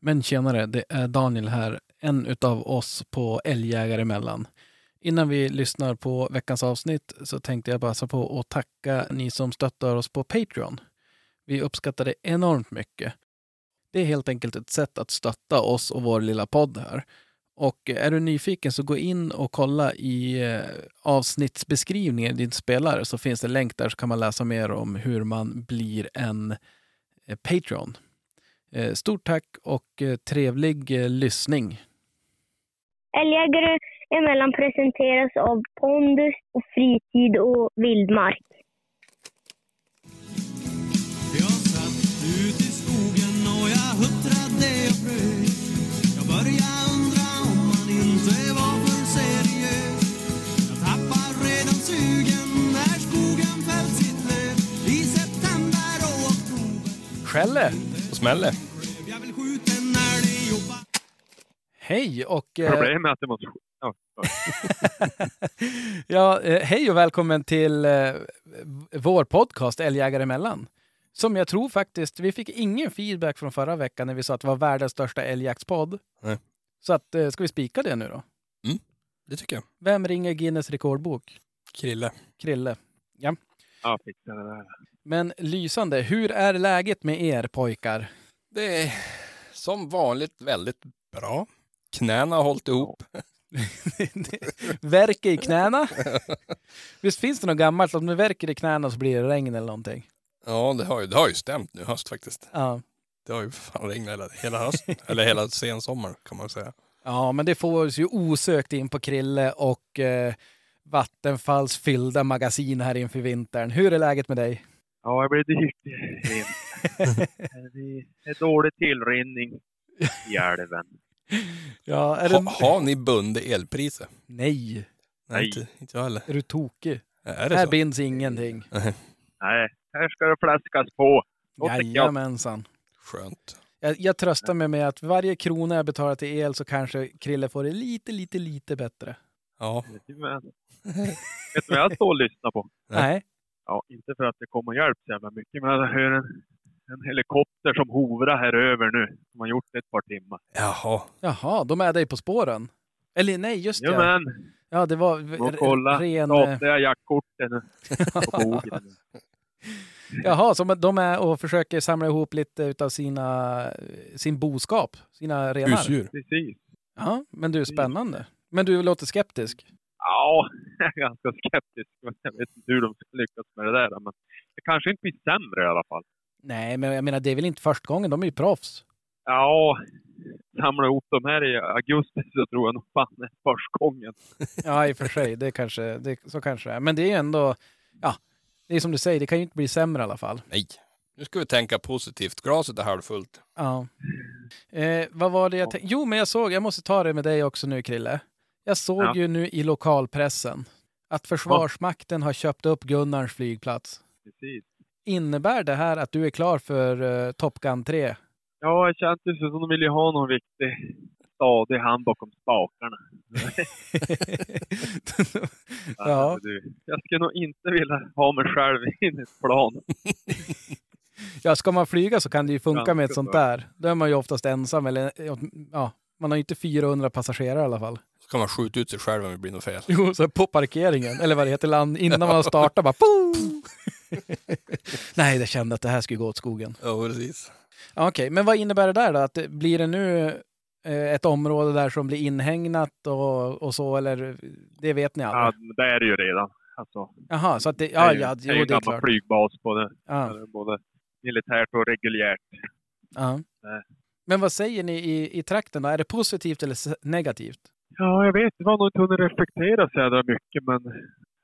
Men tjenare, det är Daniel här, en utav oss på Älgjägare emellan. Innan vi lyssnar på veckans avsnitt så tänkte jag passa på att tacka ni som stöttar oss på Patreon. Vi uppskattar det enormt mycket. Det är helt enkelt ett sätt att stötta oss och vår lilla podd här. Och är du nyfiken så gå in och kolla i eh, avsnittsbeskrivningen i din spelare så finns det en länk där så kan man läsa mer om hur man blir en eh, Patreon. Eh, Stort tack och eh, trevlig eh, lyssning. Älgjägare eh, emellan presenteras av pondus, och fritid och vildmark. Jag satt ut i skogen och jag huttrade och frös. Jag började undra om man inte var för seriös. Jag tappar redan sugen när skogen fällt sitt löv. I september och oktober Skälle! Och smäller. blev jag väl skjuten älg och ba- Hej och... eh, Problemet är att det måste... Ja, ja. ja, eh, hej och välkommen till eh, vår podcast Älgjägare emellan. Som jag tror faktiskt, vi fick ingen feedback från förra veckan när vi sa att det var världens största älgjaktspodd. Nej. Mm, Så att, eh, ska vi spika det nu då? Det tycker jag. Vem ringer Guinness rekordbok? Krille. Krille. ja fixa det där. Men lysande, hur är läget med er pojkar? Det är som vanligt väldigt bra. Knäna har hållit ihop. Värker i knäna? Visst finns det något gammalt? Om du värker i knäna så blir det regn eller någonting. Ja, det har ju, det har ju stämt nu höst faktiskt. Ja. Det har ju fan regnat hela, hela hösten. Eller hela sensommaren kan man säga. ja, men det får oss ju osökt in på Krille och eh, Vattenfalls fyllda magasin här inför vintern. Hur är läget med dig? Ja, det blir dyrt. Det är dålig tillrinning i älven. Ja, är det... Ha, har ni bundit elpriser? Nej, Nej. Inte, inte jag heller. är du tokig? Är det Här så? binds ingenting. Nej, här ska det fläskas på. Och tycker jag- Jajamensan. Skönt. Jag, jag tröstar mig med att varje krona jag betalar till el så kanske Krille får det lite, lite, lite bättre. Ja. Vet du vad- vet du vad jag står och lyssnar på? Nej. Nej. Ja, inte för att det kommer hjälp så jävla mycket, men jag hör en, en helikopter som hovrar här över nu. Som har gjort det ett par timmar. Jaha. Jaha, de är dig på spåren. Eller nej, just det. Ja, Jajamän! det var Gå r- och kolla. ren... eh, Saknar jag jaktkorten nu på bogen? Jaha, så men de är och försöker samla ihop lite utav sina, sin boskap, sina renar. Husdjur. Precis. Ja, men Mm. du, spännande. Men du låter skeptisk. Ja, jag är ganska skeptisk. Jag vet inte hur de ska lyckas med det där. Men det kanske inte blir sämre i alla fall. Nej, men jag menar, det är väl inte första gången, de är ju proffs. Ja, samla ihop de här i augusti så tror jag nog fan det är första gången. Ja, i och för sig, det kanske, det, så kanske det är. Men det är ju ändå, ja, det är som du säger, det kan ju inte bli sämre i alla fall. Nej. Nu ska vi tänka positivt. Glaset är halvfullt. Ja. Eh, vad var det jag tänkte? Jo, men jag såg, jag måste ta det med dig också nu Krille. Jag såg Ja. ju nu i lokalpressen att Försvarsmakten har köpt upp Gunnarns flygplats. Precis. Innebär det här att du är klar för eh, Top Gun 3? Ja, det känns ju som de vill ju ha någon riktig stadig hand bakom spakarna. ja, Du, Alltså, jag skulle nog inte vilja ha mig själv in i ett plan. ja, ska man flyga så kan det ju funka med ett Ganska sånt bra. där. Då är man ju oftast ensam eller ja, man har ju inte 400 passagerare i alla fall. Så kan man skjuta ut sig själv om det blir något fel. Jo, så här på parkeringen, eller vad det heter, land, innan man har startat bara poof! Nej, jag kände att det här skulle gå åt skogen. Ja, precis. Ja, Okej, men vad innebär det där då? Att det, blir det nu eh, ett område där som blir inhägnat och, och så, eller det vet ni Ja, aldrig? det är det ju redan. Alltså, Jaha, så att det, det är ja, ju, ja, det är ju jo, en det är gammal klart. flygbas både, Ja, både militärt och reguljärt. ja. Men vad säger ni i, i trakten då? Är det positivt eller s- negativt? Ja, jag vet. Det var nog inte hunnit reflektera så jädra mycket, men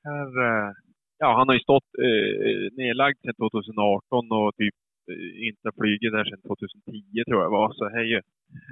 här... eh, Ja, han har ju stått eh, nedlagd sedan 2018 och typ eh, inte flugit där sedan 2010 tror jag var. Så här är ju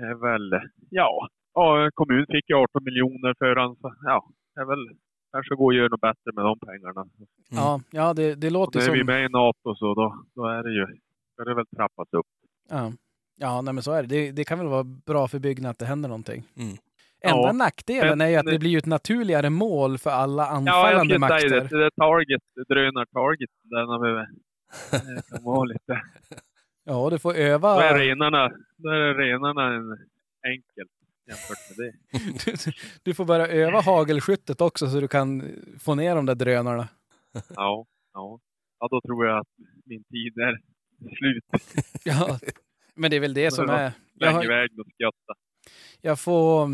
är väl... Ja, ja kommunen fick ju 18 miljoner för han, så ja, det är väl... Kanske går att göra något bättre med de pengarna. Mm. Ja, ja det, det Och låter nu är vi som... med i NATO så då, då är det ju... Ska det väl trappas upp. Ja, ja nej, men så är det. det. Det kan väl vara bra för bygden att det händer någonting. Mm. Enda Ja, nackdelen men- är ju att det blir ju ett naturligare mål för alla Ja, jag anfallande skulle säga det. makter. Det är target, drönartarget, den har vi... eh, kan vara lite... Ja, du får Då är öva. renarna, då är renarna en enkelt jämfört med det. Du, du får börja öva hagelskyttet också så du kan få ner de där drönarna. Ja, ja. ja då tror jag att min tid är slut. Ja. Men det är väl det som är... Jag, Lägg har, iväg och skratta. jag får...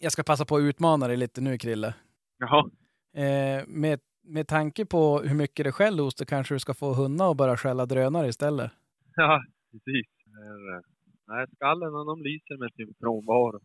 Jag ska passa på att utmana dig lite nu, Krille. Jaha, Eh, med, med tanke på hur mycket det skäll hos dig kanske du ska få hunna och börja skälla drönare istället. ja, precis. Här, eh, Nej, skallen han, de lyser med sin frånvaro.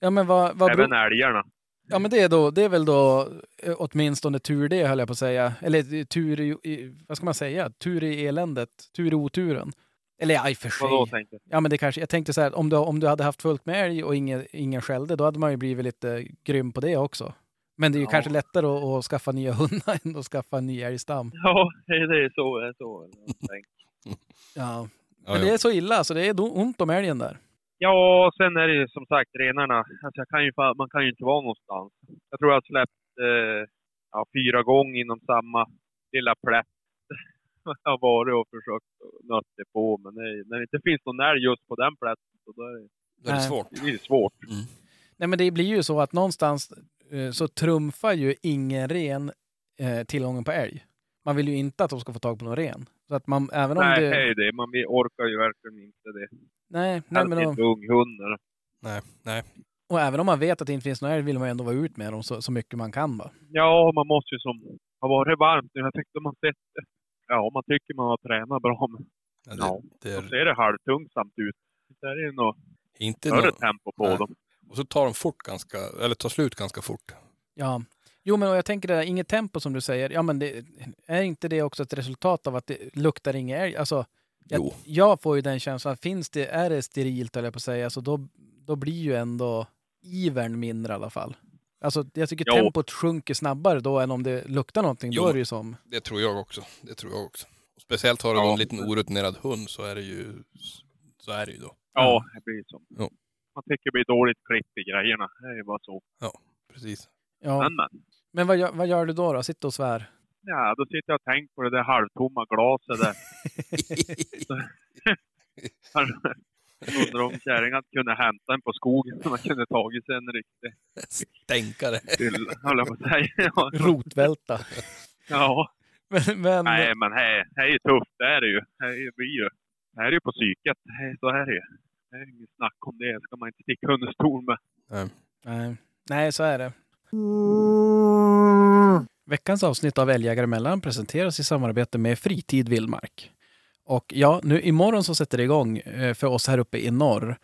Ja, men vad, vad beror- Även älgarna. Ja, men det är, då, det är väl då eh, åtminstone tur det, höll jag på att säga. Eller eh, tur i, i- vad ska man säga? Tur i eländet, tur i oturen. Eller ja, i och för Vadå sig. tänkte jag? Ja, men det kanske, jag tänkte så här, om du, om du hade haft fullt med älg och ingen, ingen skällde, då hade man ju blivit lite grym på det också. Men det är ju Ja. kanske lättare att, att skaffa nya hundar än att skaffa en ny älgstam. Ja, det är så. Det är så. jag tänkte. Ja. Ja, Men det är så illa, så det är do- ont om älgen där. Ja, och sen är det ju som sagt renarna. Alltså jag kan ju, fan- man kan ju inte vara någonstans. Jag tror jag har släppt eh, ja, fyra gånger inom samma lilla plätt. jag har varit och försökt nöta på, men det, när det inte finns någon älg just på den plätten så då är det, Då är det Nej. svårt. det blir svårt. Nej, men det blir ju så att någonstans eh, så trumfar ju ingen ren eh, tillgången på älg. Man vill ju inte att de ska få tag på någon ren. Så att man, även om Nej, det är det... ju det. Man vill- orkar ju verkligen inte det. Nej, nej Helst men om, inte unghundar. Nej, nej. och även om man vet att det inte finns någon älg vill man ju ändå vara ut med dem så, så mycket man kan. Va? Ja, man måste ju som... Har varit varmt nu. Jag tyckte man sett... Ja, man tycker man har tränat bra, men Ja, ja, det, det då är ser det halvtungsamt ut. Det är ju något inte större någon... tempo på Nej. dem. Och så tar de fort ganska, eller tar slut ganska fort. Ja. Jo, men och jag tänker det där, inget tempo som du säger. Ja, men det, är inte det också ett resultat av att det luktar ingen älg? Alltså, jag, Jo. jag får ju den känslan att finns det, är det sterilt, höll jag på att säga, så då, då blir ju ändå ivern mindre i alla fall. Alltså, jag tycker Jo. tempot sjunker snabbare då än om det luktar någonting. Jo. Då är det ju som... Det tror jag också. Det tror jag också. Och speciellt har du Ja. då en liten orutinerad hund så är det ju, så är det ju då. Ja, det blir så. Ja. Man tycker det blir dåligt klipp i grejerna. Det är ju bara så. Precis. Ja. Men, men. Men vad gör, vad gör du då? då? Sitter och svär? Ja, då sitter jag och tänker på det där halvtomma glaset där. Undrar om kärringen kunde hämta en på skogen så man kunde tagit sig en riktig Stänkare. fylla, höll jag på att säga. Ja. Rotvälta. ja. Men, men, Nej, men det det är ju tufft. Det är det ju. Det blir ju. Det här är ju på psyket. Det är- Så är det ju. Det är inget snack om det. ska man inte sticka under stol med. Nej. Nej, så är det. Veckans avsnitt av Älgjägare mellan presenteras i samarbete med Fritid Vildmark. Och ja, nu imorgon så sätter det igång eh, för oss här uppe i norr.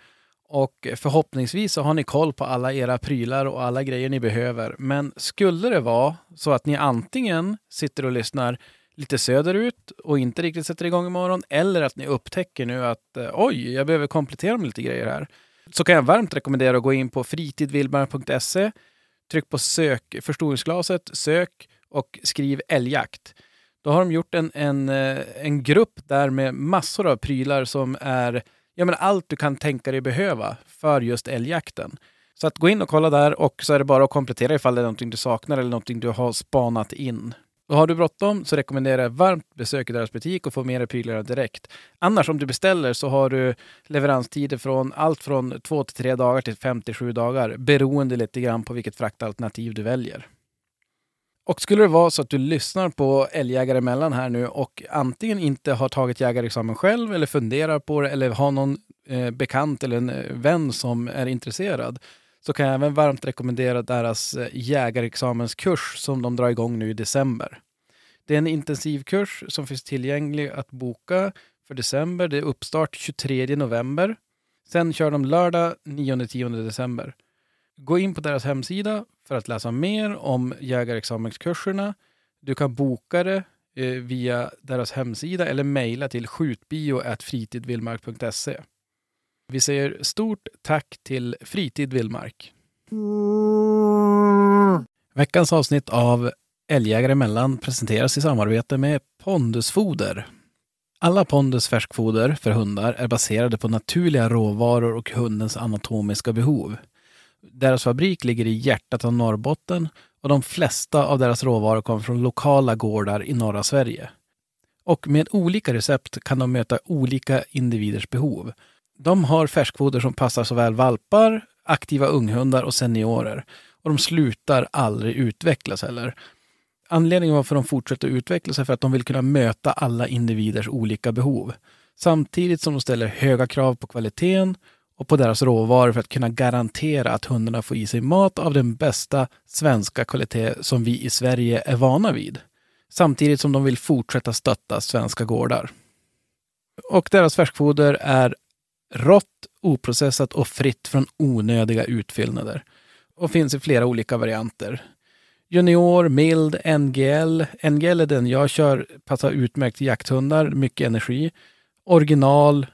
Och förhoppningsvis så har ni koll på alla era prylar och alla grejer ni behöver. Men skulle det vara så att ni antingen sitter och lyssnar lite söderut och inte riktigt sätter igång imorgon eller att ni upptäcker nu att eh, oj, jag behöver komplettera med lite grejer här så kan jag varmt rekommendera att gå in på fritidvildmark.se. Tryck på sök, förstoringsglaset, sök och skriv älgjakt. Då har de gjort en, en, eh, en grupp där med massor av prylar som är ja, men allt du kan tänka dig behöva för just älgjakten. Så att gå in och kolla där och så är det bara att komplettera ifall det är någonting du saknar eller någonting du har spanat in. Och har du bråttom så rekommenderar jag varmt besöka deras butik och få med dig prylarna direkt. Annars om du beställer så har du leveranstider från allt från 2 till 3 dagar till 5 till 7 dagar beroende lite grann på vilket fraktalternativ du väljer. Och skulle det vara så att du lyssnar på Älgjägare emellan här nu och antingen inte har tagit jägarexamen själv eller funderar på det eller har någon eh, bekant eller en eh, vän som är intresserad så kan jag även varmt rekommendera deras eh, jägarexamenskurs som de drar igång nu i december. Det är en intensivkurs som finns tillgänglig att boka för december. Det är uppstart 23 november. Sen kör de lördag 9-10 december. Gå in på deras hemsida för att läsa mer om jägarexamenskurserna. Du kan boka det eh, via deras hemsida eller mejla till skjutbio.fritidvillmark.se. Vi säger stort tack till Fritid Villmark. Veckans avsnitt av Älgjägare emellan presenteras i samarbete med Pondusfoder. Alla Pondus färskfoder för hundar är baserade på naturliga råvaror och hundens anatomiska behov. Deras fabrik ligger i hjärtat av Norrbotten och de flesta av deras råvaror kommer från lokala gårdar i norra Sverige. Och med olika recept kan de möta olika individers behov. De har färskfoder som passar såväl valpar, aktiva unghundar och seniorer. Och de slutar aldrig utvecklas heller. Anledningen varför de fortsätter utvecklas är för att de vill kunna möta alla individers olika behov. Samtidigt som de ställer höga krav på kvaliteten och på deras råvaror för att kunna garantera att hundarna får i sig mat av den bästa svenska kvalitet som vi i Sverige är vana vid. Samtidigt som de vill fortsätta stötta svenska gårdar. Och deras färskfoder är rått, oprocessat och fritt från onödiga utfyllnader. Och finns i flera olika varianter. Junior, mild, NGL. NGL är den jag kör, passar utmärkt till jakthundar, mycket energi. Original,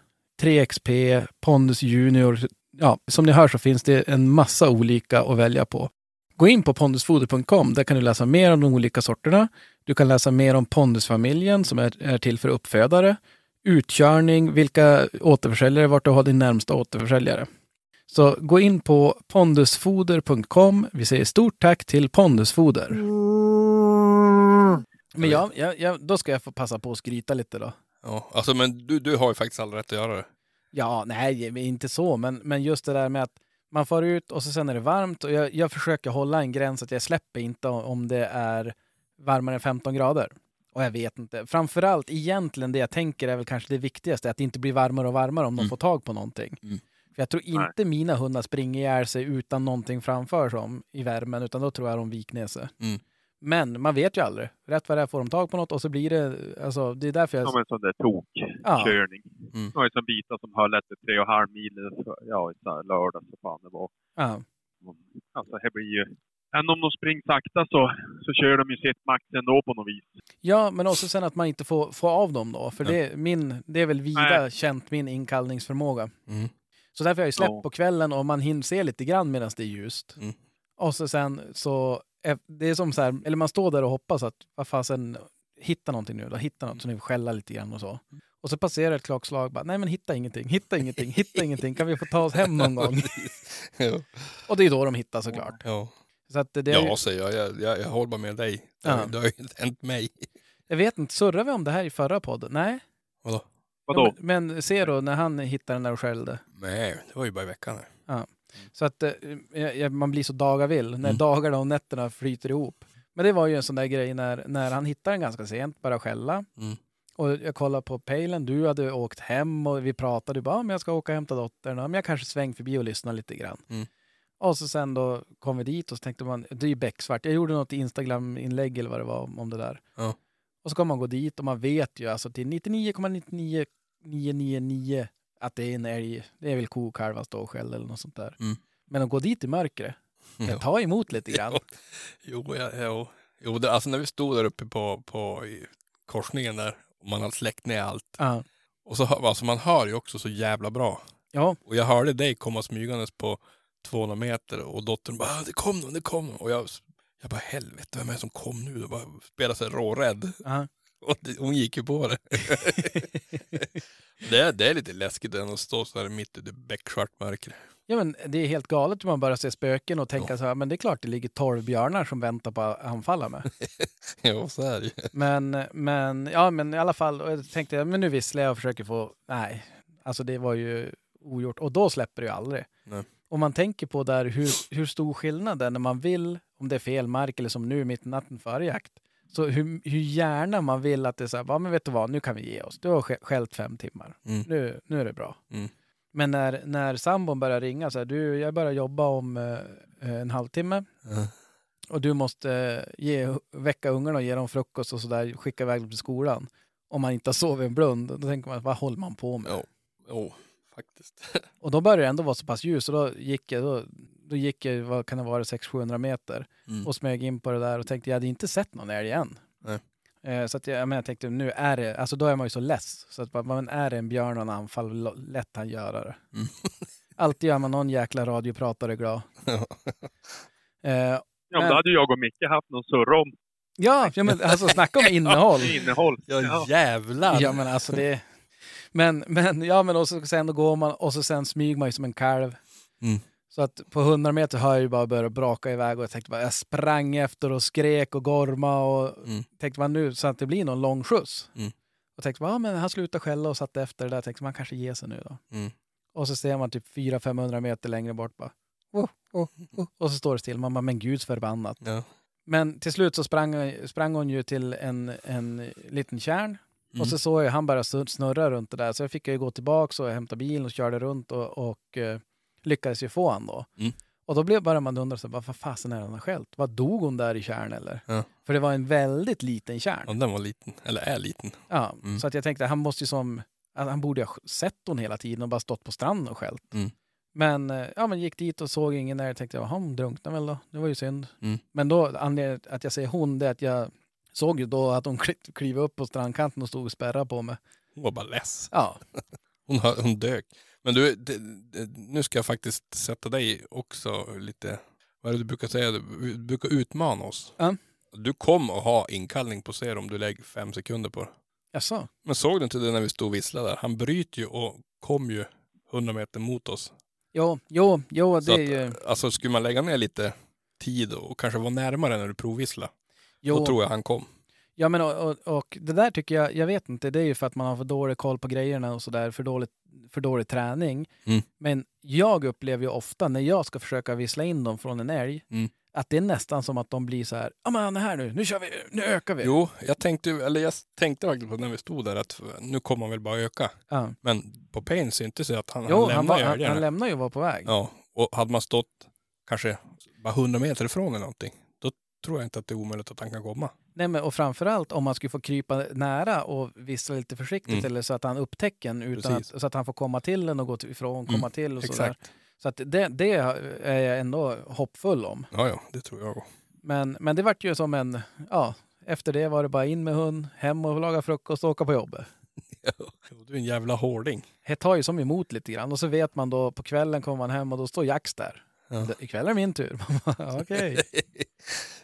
3XP, Pondus Junior. Ja, som ni hör så finns det en massa olika att välja på. Gå in på pondusfoder.com. Där kan du läsa mer om de olika sorterna. Du kan läsa mer om pondusfamiljen som är, är till för uppfödare, utkörning, vilka återförsäljare, vart du har din närmsta återförsäljare. Så gå in på pondusfoder.com. Vi säger stort tack till Pondusfoder. Men ja, ja, ja, då ska jag få passa på att skryta lite då. Ja, alltså men du, du har ju faktiskt all rätt att göra det. Ja, nej, men inte så, men, men just det där med att man far ut och så sen är det varmt och jag, jag försöker hålla en gräns att jag släpper inte o- om det är varmare än 15 grader. Och jag vet inte. Framförallt egentligen det jag tänker är väl kanske det viktigaste, att det inte blir varmare och varmare om de Mm. får tag på någonting. Mm. För jag tror Nej. inte mina hundar springer ihjäl sig utan någonting framför dem i värmen, utan då tror jag de viknese. Mm. Men man vet ju aldrig. Rätt vad det är får de tag på något och så blir det, alltså det är därför jag... Som en sån där Ja. tokkörning. Mm. Det var ju som bitar som höll efter tre och en halv mil, ja, i så här lördag så fan det var. Ja. Alltså det blir ju... Än om de springer sakta så, så kör de ju sitt max ändå på något vis. Ja, men också sen att man inte får, får av dem då. För Ja. det, är min, det är väl vida känt min inkallningsförmåga. Mm. Så därför har jag ju släppt Ja. på kvällen och man hinner se lite grann medan det är ljust. Mm. Och så sen så, är- det är som så här, eller man står där och hoppas att, vad fasen, hitta någonting nu då, hitta något så ni får skälla lite grann och så. Och så passerar ett klockslag, bara, nej men hitta ingenting, hitta ingenting, hitta ingenting, kan vi få ta oss hem någon gång? ja. Och det är då de hittar såklart. Ja. Så att det är ju, ja, säger jag. Jag, jag. jag håller bara med dig. Det, Ja. det har ju inte hänt mig. jag vet inte, surrade vi om det här i förra podden? Nej. Vadå? Vadå? Ja, men, men se då när han hittade den där och skällde. Nej, det var ju bara i veckan. här. Så att eh, jag- jag- man blir så dagar vill när Mm. dagarna och nätterna flyter ihop. Men det var ju en sån där grej när, när han hittade den ganska sent, bara skälla. Mm. Och jag kollade på pejlen, du hade åkt hem och vi pratade, du bara, "Ah, men jag ska åka och hämta dottern, Ja, men jag kanske sväng förbi och lyssnar lite grann. Mm. Och så sen då kom vi dit och så tänkte man, det är ju becksvart. Jag gjorde något Instagram-inlägg eller vad det var om- om det där. Ja. Och så kommer man gå dit och man vet ju alltså till 99,99999 att det är en älg, det är väl ko, kalv, han står och skäller eller något sånt där. Mm. Men att gå dit i mörkret, Ja. jag tar emot lite grann. Jo, jo, ja, jo. jo det, alltså när vi stod där uppe på, på i korsningen där och man hade släckt ner allt. Ja. Och så hör- alltså man hör ju också så jävla bra. Ja. Och jag hörde dig komma smygandes på 200 meter och dottern bara "Ah, det kom någon, det kom någon. Och jag, jag bara helvete vem är det som kom nu? Och bara spelade sig rårädd. Ja. Och det, hon gick ju på det. det, är- det är lite läskigt än att stå så här mitt i det becksvart mörker. ja, men det är helt galet hur man börjar se spöken och tänka så här, men det är klart det ligger tolv björnar som väntar på att anfalla mig. ja, så är det ju. Men, men, ja, men i alla fall, och jag tänkte men nu visslar jag och försöker få, nej, alltså det var ju ogjort. Och då släpper det ju aldrig. Nej. Om man tänker på där hur, hur stor skillnad det är när man vill, om det är fel mark eller som nu mitt i natten före jakt, så hur, hur gärna man vill att det är så här, ja men vet du vad, nu kan vi ge oss, du har sk- skällt fem timmar, Mm. nu, nu är det bra. Mm. Men när, när sambon börjar ringa, så här, du, jag börjar jobba om eh, en halvtimme, Ja. och du måste eh, ge, väcka ungarna och ge dem frukost och sådär, skicka iväg dem till skolan. Om man inte har sovit en blund, då tänker man vad håller man på med? Ja. Jo, faktiskt. Och då började det ändå vara så pass ljus och då gick jag, då, då gick jag vad kan det vara, 600-700 meter Mm. och smög in på det där och tänkte jag hade inte sett någon älg än. Nej. Eh, Så att jag, men jag tänkte nu är det, alltså då är man ju så less, så att bara, men är det en björn och en anfall, lo- lätt han göra det. Mm. Alltid gör man någon jäkla radiopratare glad. Ja. Eh, Ja, men Men- då hade ju jag och Micke haft någon surra om Ja, ja men alltså snacka om innehåll. innehåll. Ja, jävlar! Ja, men alltså det... Men, men, ja, men och så, sen då går man och så sen smyger man ju som en kalv. Mm. Så att på 100 meter hör jag ju bara börja braka iväg och jag tänkte bara, jag sprang efter och skrek och gorma och Mm. tänkte man nu så att det blir någon lång skjuts. Mm. Och tänkte, ja men han slutade skälla och satte efter det där. Tänkte, man kanske ger sig nu då. Mm. Och så ser man typ 400-500 meter längre bort bara. Oh, oh, oh. Och så står det still. Man bara, men guds förbannat. Ja. Men till slut så sprang, sprang hon ju till en, en liten kärn. Mm. Och så såg jag han bara snur- snurra runt det där. Så jag fick ju gå tillbaka och hämta bilen och körde runt och, och eh, lyckades ju få han då. Mm. Och då blev bara man undra, så här, vad fan fasen är det han har skällt? Vad dog hon där i kärn eller? Ja. För det var en väldigt liten kärn. ja, den var liten. Eller är liten. Ja, Mm. så att jag tänkte han måste ju som, att han borde ju ha sett hon hela tiden och bara stått på stranden och skällt. Mm. Men, eh, ja, men gick dit och såg ingen där och tänkte, jaha, hon drunknade väl då. Det var ju synd. Mm. Men då, anledningen att jag säger hon, det är att jag såg ju då att hon kli- klev upp på strandkanten och stod och spärrade på mig. Hon var bara less. Ja, Hon, hö- hon dök. Men du, det, det, nu ska jag faktiskt sätta dig också lite... Vad är det du brukar säga? Du brukar utmana oss. Ja. Du kommer att ha inkallning på serum om du lägger fem sekunder på det. jaså? Men såg du inte det när vi stod och visslade där? Han bryter ju och kom ju 100 meter mot oss. Jo, jo, jo, det Så är ju... Alltså skulle man lägga ner lite tid och kanske vara närmare när du provvisslar, Jo, då tror jag han kom. Ja, men och, och, och det där tycker jag, jag vet inte, det är ju för att man har för dålig koll på grejerna och sådär, för, dåligt, för dålig träning. Mm. Men jag upplever ju ofta när jag ska försöka vissla in dem från en älg, Mm. att det är nästan som att de blir så här, ja men han är här nu, nu kör vi, nu ökar vi. Jo, jag tänkte, ju- eller jag tänkte faktiskt på när vi stod där att nu kommer han väl bara öka. ja. Men på Payne syntes det att han, jo han han, lämnade var, ju han, han älgarna. lämnar ju och var på väg. Ja, och hade man stått kanske bara 100 meter ifrån eller någonting, då tror jag inte att det är omöjligt att han kan komma. Nej, men, och framförallt om man skulle få krypa nära och vissla lite försiktigt Mm. eller så att han upptäcker en utan att, Precis. Mm. så att han får komma till en och gå till- ifrån, komma till och sådär. Exakt. Så att det, det är jag ändå hoppfull om. Ja, ja, det tror jag. Men, men det vart ju som en, ja, efter det var det bara in med hund, hem och laga frukost och åka på jobbet. Du är en jävla hårding. Det tar ju som emot lite grann och så vet man då på kvällen kommer man hem och då står Jax där. Ja. Ikväll är min tur. Man bara, Okej.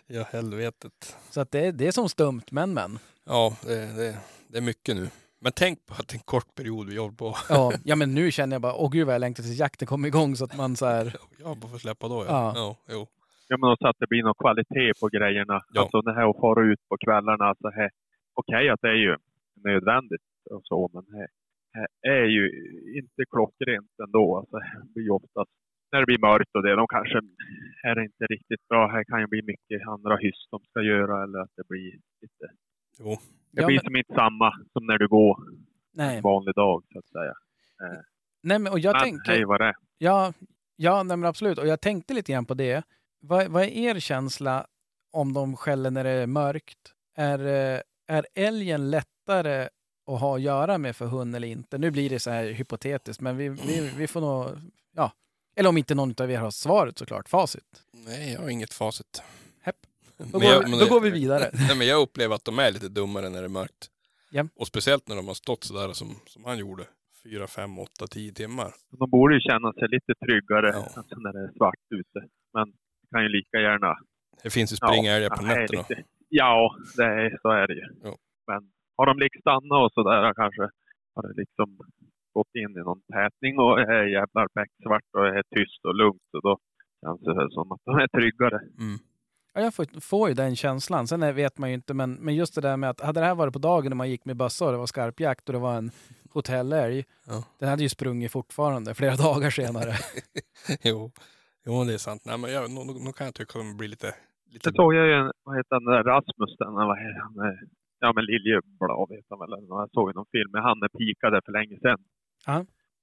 ja, helvetet. Så att det, det är som stumt, men men. Ja, det, det, det är mycket nu. Men tänk på att det är en kort period vi jobbar på. Ja, ja, men nu känner jag bara, åh gud vad jag längtar tills jakten kommer igång så att man så här, Jag bara får släppa då. Ja. Ja. Ja. jo. Ja, men också att det blir någon kvalitet på grejerna. Ja. Alltså det här att fara ut på kvällarna. Så här. Okej att det är ju nödvändigt och så, men det här är ju inte klockrent ändå. Alltså, det blir ju oftast, när det blir mörkt och det, de kanske här är inte riktigt bra. Här kan ju bli mycket andra hyss de ska göra eller att det blir lite... Jo. Det Ja, blir men- som inte samma som när du går nej. en vanlig dag, så att säga. Nej, men och jag men tänker, hej vad det är. Ja, ja nej men absolut. Och jag tänkte lite grann på det. Vad, vad är er känsla om de skäller när det är mörkt? Är, eh, är älgen lättare att ha att göra med för hund eller inte? Nu blir det så här hypotetiskt, men vi, vi, vi får nog... Ja. Eller om inte någon av er har svaret såklart, facit. Nej, jag har inget facit. Hepp. Då, Men jag- går, vi- men då det- går vi vidare. Nej, men jag upplever att de är lite dummare när det är mörkt. Ja. Och speciellt när de har stått sådär som, som han gjorde. Fyra, fem, åtta, tio timmar. De borde ju känna sig lite tryggare Ja. alltså, när det är svart ute. Men det kan ju lika gärna... Det finns ju springälgar på ja, det är nätterna. lite- Ja, det är, så är det ju. Ja. Men har de liksom stannat och sådär kanske har det liksom gått in i någon tätning och är jävlar becksvart och är tyst och lugnt. Så då känns det som att de är tryggare. Mm. Ja, jag får, får ju den känslan. Sen är- vet man ju inte, men, men just det där med att hade det här varit på dagen när man gick med bössa och det var skarpjakt och det var en hotellälg, Ja. den hade ju sprungit fortfarande flera dagar senare. Jo. jo, det är sant. Nej, men jag, nu, nu- nu kan jag tycka att de blir lite... lite... Det såg jag ju, en- vad heter han, den där Rasmus, den, vad heter han? eh, Ja men Liljeblad heter han väl. eller något. Jag såg ju någon film med han, eh, pikade för länge sedan. Ja.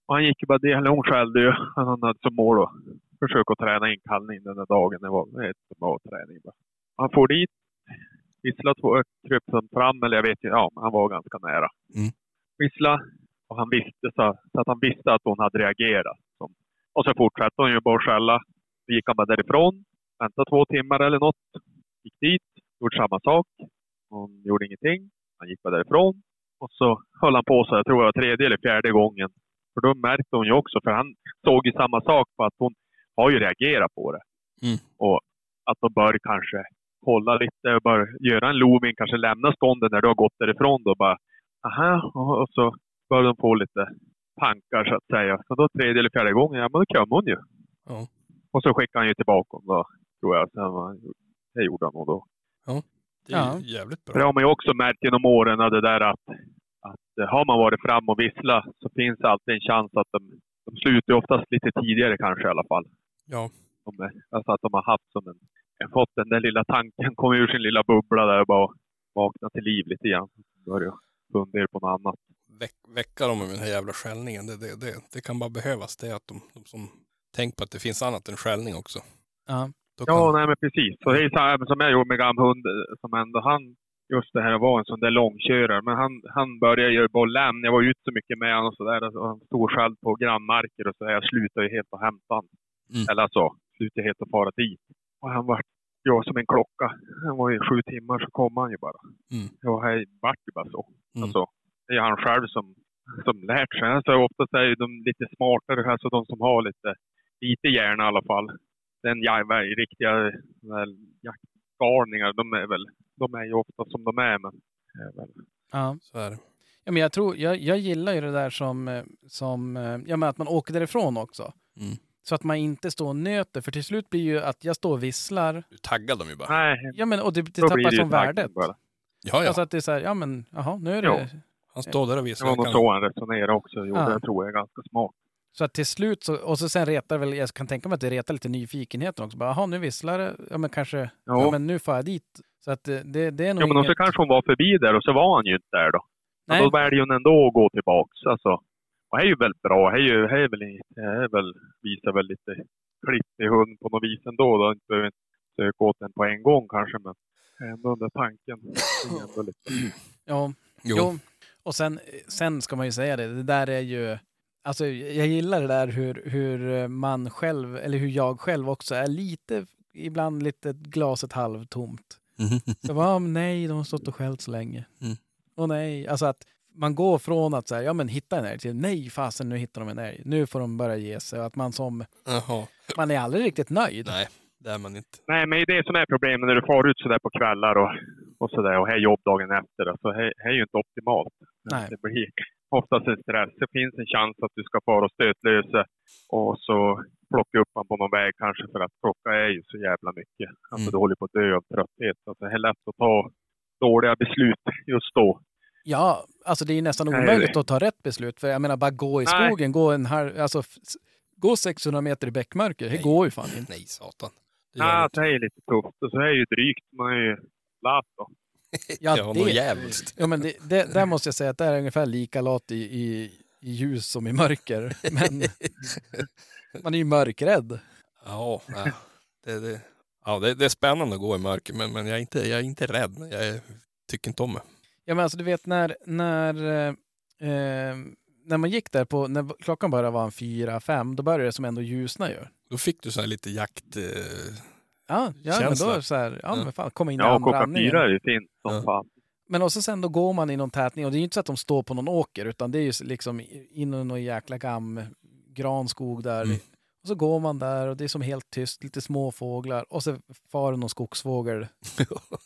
Och han gick ju bara del, hon skällde ju. Han hade som mål att försöka träna inkallning den där dagen. Det var ett bra träning. bara. Han får dit, vissla två, kröp sen fram, eller jag vet ju, ja men han var ganska nära. Mm. Vissla, och han visste så, så att han visste att hon hade reagerat. Så, och så fortsatte hon ju bara att skälla. Då gick han bara därifrån, väntade två timmar eller något gick dit, gjorde samma sak. Hon gjorde ingenting. Han gick bara därifrån. Och så höll han på så, jag tror det var tredje eller fjärde gången. För då märkte hon ju också, för han såg ju samma sak på att hon har ju reagerat på det. Mm. Och att de bör kanske kolla lite, och bör göra en looming, kanske lämna stånden när du har gått därifrån då bara, aha, och och så bör de få lite tankar så att säga. Så då tredje eller fjärde gången, ja men då kom hon ju. Ja. Och så skickade han ju tillbaka honom då, tror jag. Sen, var- det gjorde han nog då. Det är Ja. ju jävligt För det bra. har man ju också märkt genom åren, att det där att att eh, har man varit fram och vissla så finns det alltid en chans att de, de slutar ju oftast lite tidigare kanske i alla fall. Ja. De, är- alltså att de har haft som en, en fått den där lilla tanken, kom ur sin lilla bubbla där och bara vakna till liv lite grann. Börja fundera på något annat. Väck, väcka dem med den här jävla skällningen. Det, det, det, det kan bara behövas. Det är att de, de som tänk på att det finns annat än skällning också. Ja. Då kan, Ja, nej men precis. Så det är samma även som jag gjorde med Gamhund, eh, som ändå han, just det här var en sån där långkörare, men han, han började ju bara lämna. Jag var ute så mycket med honom och sådär. och Han stod själv på grannmarker och så här. Jag slutade ju helt och hämta han. Mm. Eller så, slutade helt och fara dit. Och han var ja, som en klocka. Han var ju sju timmar så kom han ju bara. Mm. Och här vart ju bara så. Mm. Alltså, det är han själv som, som lärt sig. Alltså, oftast är ju de lite smartare, alltså de som har lite, lite hjärna i alla fall den jävla riktiga väl, jaktgalningar, de är väl, de är ju ofta som de är men. är väl- Ja. så är det. Ja, men jag, tror, jag, jag gillar ju det där som, eh, som eh, ja, men att man åker därifrån också. Mm. Så att man inte står och nöter, för till slut blir ju att jag står och visslar. Du taggar dem ju bara. Nej, Ja, men, och det, det då blir tappar det ju som taggen värdet. bara. Ja, ja. Alltså att det är så här, ja men jaha, nu är det... Han står där och Det visar. var Jag nog kan- så han resonerade också. Jo, Ja. det tror jag är ganska smart. Så att till slut så, och så sen retar väl, jag kan tänka mig att det retar lite nyfikenheten också. Bara, Jaha, nu visslar det, ja men kanske, ja. Jo. men nu får jag dit. Så att det, det, det är nog Ja, men inget... också kanske hon var förbi där och så var han ju inte där då. Men då Nej, väljer hon ändå att gå tillbaks. Alltså. Och det är ju väldigt bra. Det är ju, det är väl, i- det är väl, visar väl lite klipp i hund på något vis ändå. Då inte behöver inte söka åt den på en gång kanske, men ändå den där tanken. Det är ändå lite... ja, Jo. jo. Och sen, sen ska man ju säga det, det där är ju... Alltså jag gillar det där hur, hur man själv, eller hur jag själv också är lite, ibland lite glaset halvtomt. Mhm. Så bara, "Ah, men nej, de har stått och skällt så länge. Mm. Och nej, alltså att man går från att så här, ja men hitta en älg till nej fasen nu hittar de en älg. Nu får de börja ge sig. Och att man som, Jaha. man är aldrig riktigt nöjd. Nej, det är man inte. Nej, men det är det som är problemet när du far ut sådär på kvällar och, och sådär och här jobb dagen efter. Alltså, här, här är ju inte optimalt. Nej. Det blir oftast en stress. Det finns en chans att du ska fara och stötlösa och så plocka upp man på någon väg kanske för att klocka är ju så jävla mycket. Alltså Mm. du håller på att dö av trötthet. Alltså, det är lätt att ta dåliga beslut just då. Ja, alltså det är ju nästan Nej, omöjligt det- att ta rätt beslut. För jag menar bara gå i Nej. skogen, gå en halv, alltså f- s- gå 600 meter i bäckmörker. Det Nej. går ju fan inte. Nej, satan. Det gör Ja, det ah, det är lite tufft. Och så är det ju drygt. Man är ju lat då. inte. Ja, Ja, det- något jävligt. Ja men det, det, där måste jag säga att det är ungefär lika lat i, i, i ljus som i mörker. Men man är ju mörkrädd. Ja, ja. Det, det, ja det, det är spännande att gå i mörker, men, men jag, är inte, jag är inte rädd. Jag är, tycker inte om det. Ja men alltså du vet när, när, eh, eh, när man gick där på, när klockan bara var en fyra, fem, då började det som ändå ljusna ju. Då fick du så här lite jakt... Eh, Ja, ja men då Känsla. är det så här, ja Ja. men fan, komma in i Ja, klockan anbrandningen. fyra är ju fint som Ja. fan. Men också sen då går man i någon tätning och det är ju inte så att de står på någon åker utan det är ju liksom in i någon jäkla gam granskog där. Mm. Och så går man där och det är som helt tyst, lite småfåglar och så far någon skogsfågel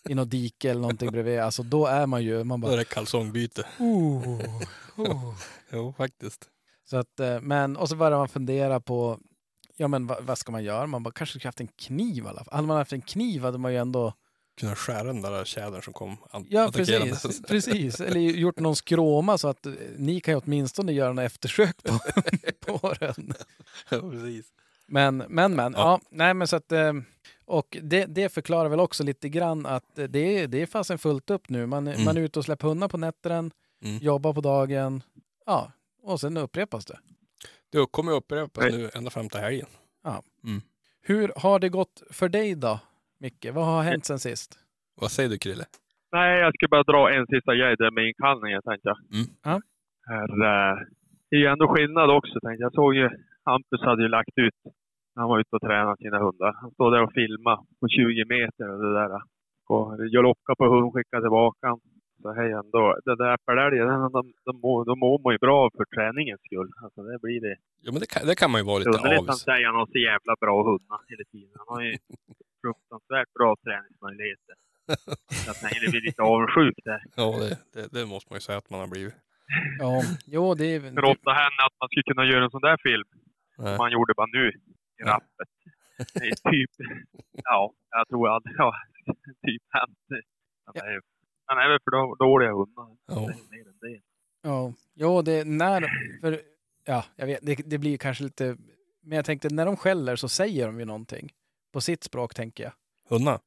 i något dike eller någonting bredvid. Alltså då är man ju, man då är bara... det kalsongbyte. Oh, oh. Jo, faktiskt. Så att, eh, men, och så börjar man fundera på, ja men vad, vad ska man göra? Man bara, kanske skulle haft en kniv i alla fall. Hade man haft en kniv hade man ju ändå Kunna skära den där tjädern som kom an- Ja, attackerande. precis, precis. Eller gjort någon skråma så att eh, ni kan ju åtminstone göra något eftersök på, på den. Ja, precis. Men, men, men. Ja. Ja. nej, men så att, eh, och det, det förklarar väl också lite grann att eh, det är, det är fasen fullt upp nu. Man, Mm. man är ute och släpper hundar på nätterna, Mm. jobbar på dagen. Ja, och sen upprepas det. Du kommer ju upprepas nu ända fram till helgen. Hur har det gått för dig då, Micke? Vad har hänt sen sist? Vad säger du, Krille? Nej, jag ska bara dra en sista grej där med inkallningen tänkte jag. Mm. Ja. Här, eh, det är ju ändå skillnad också tänkte jag. Jag såg ju, Hampus hade ju lagt ut, när han var ute och tränade sina hundar. Han stod där och filmade på 20 meter och det där. Och jag lockade på hund, skickade tillbaka han. Så hej ändå. Den där äppelälgen, den- de, de, mår- de mår man ju bra av för träningens skull. Alltså det blir det. Ja, men det kan, det kan man ju vara Det är lite underligt alltså. att han avis. säger att han har så jävla bra hundar hela tiden. Han har ju fruktansvärt bra träningsmöjligheter. Så att han blir lite avundsjuk där. Ja, det, det, det måste man ju säga att man har blivit. Ja, jo, det är... Det, förlåta henne att man skulle kunna göra en sån där film. Nej. Som man gjorde bara nu, i Ja. rappet. Det är typ, ja, jag tror aldrig jag typ hänt. Han är, han är väl för då- dåliga hundar. Ja. Det är mer än det. Ja, jo, det är när... För, ja, jag vet, det, det blir ju kanske lite... Men jag tänkte, när de skäller så säger de ju någonting. På sitt språk, tänker jag. Hundarna?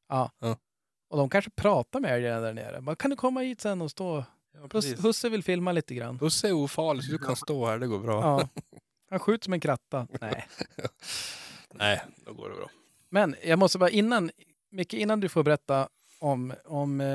Och de kanske pratar med älgarna där nere. Bara, kan du komma hit sen och stå? Ja, Hus, husse vill filma lite grann. Husse är ofarlig, så du kan stå här, det går bra. Ja. Han skjuts som en kratta. Nej. Nej, då går det bra. Men jag måste bara innan, Micke, innan du får berätta om, om eh,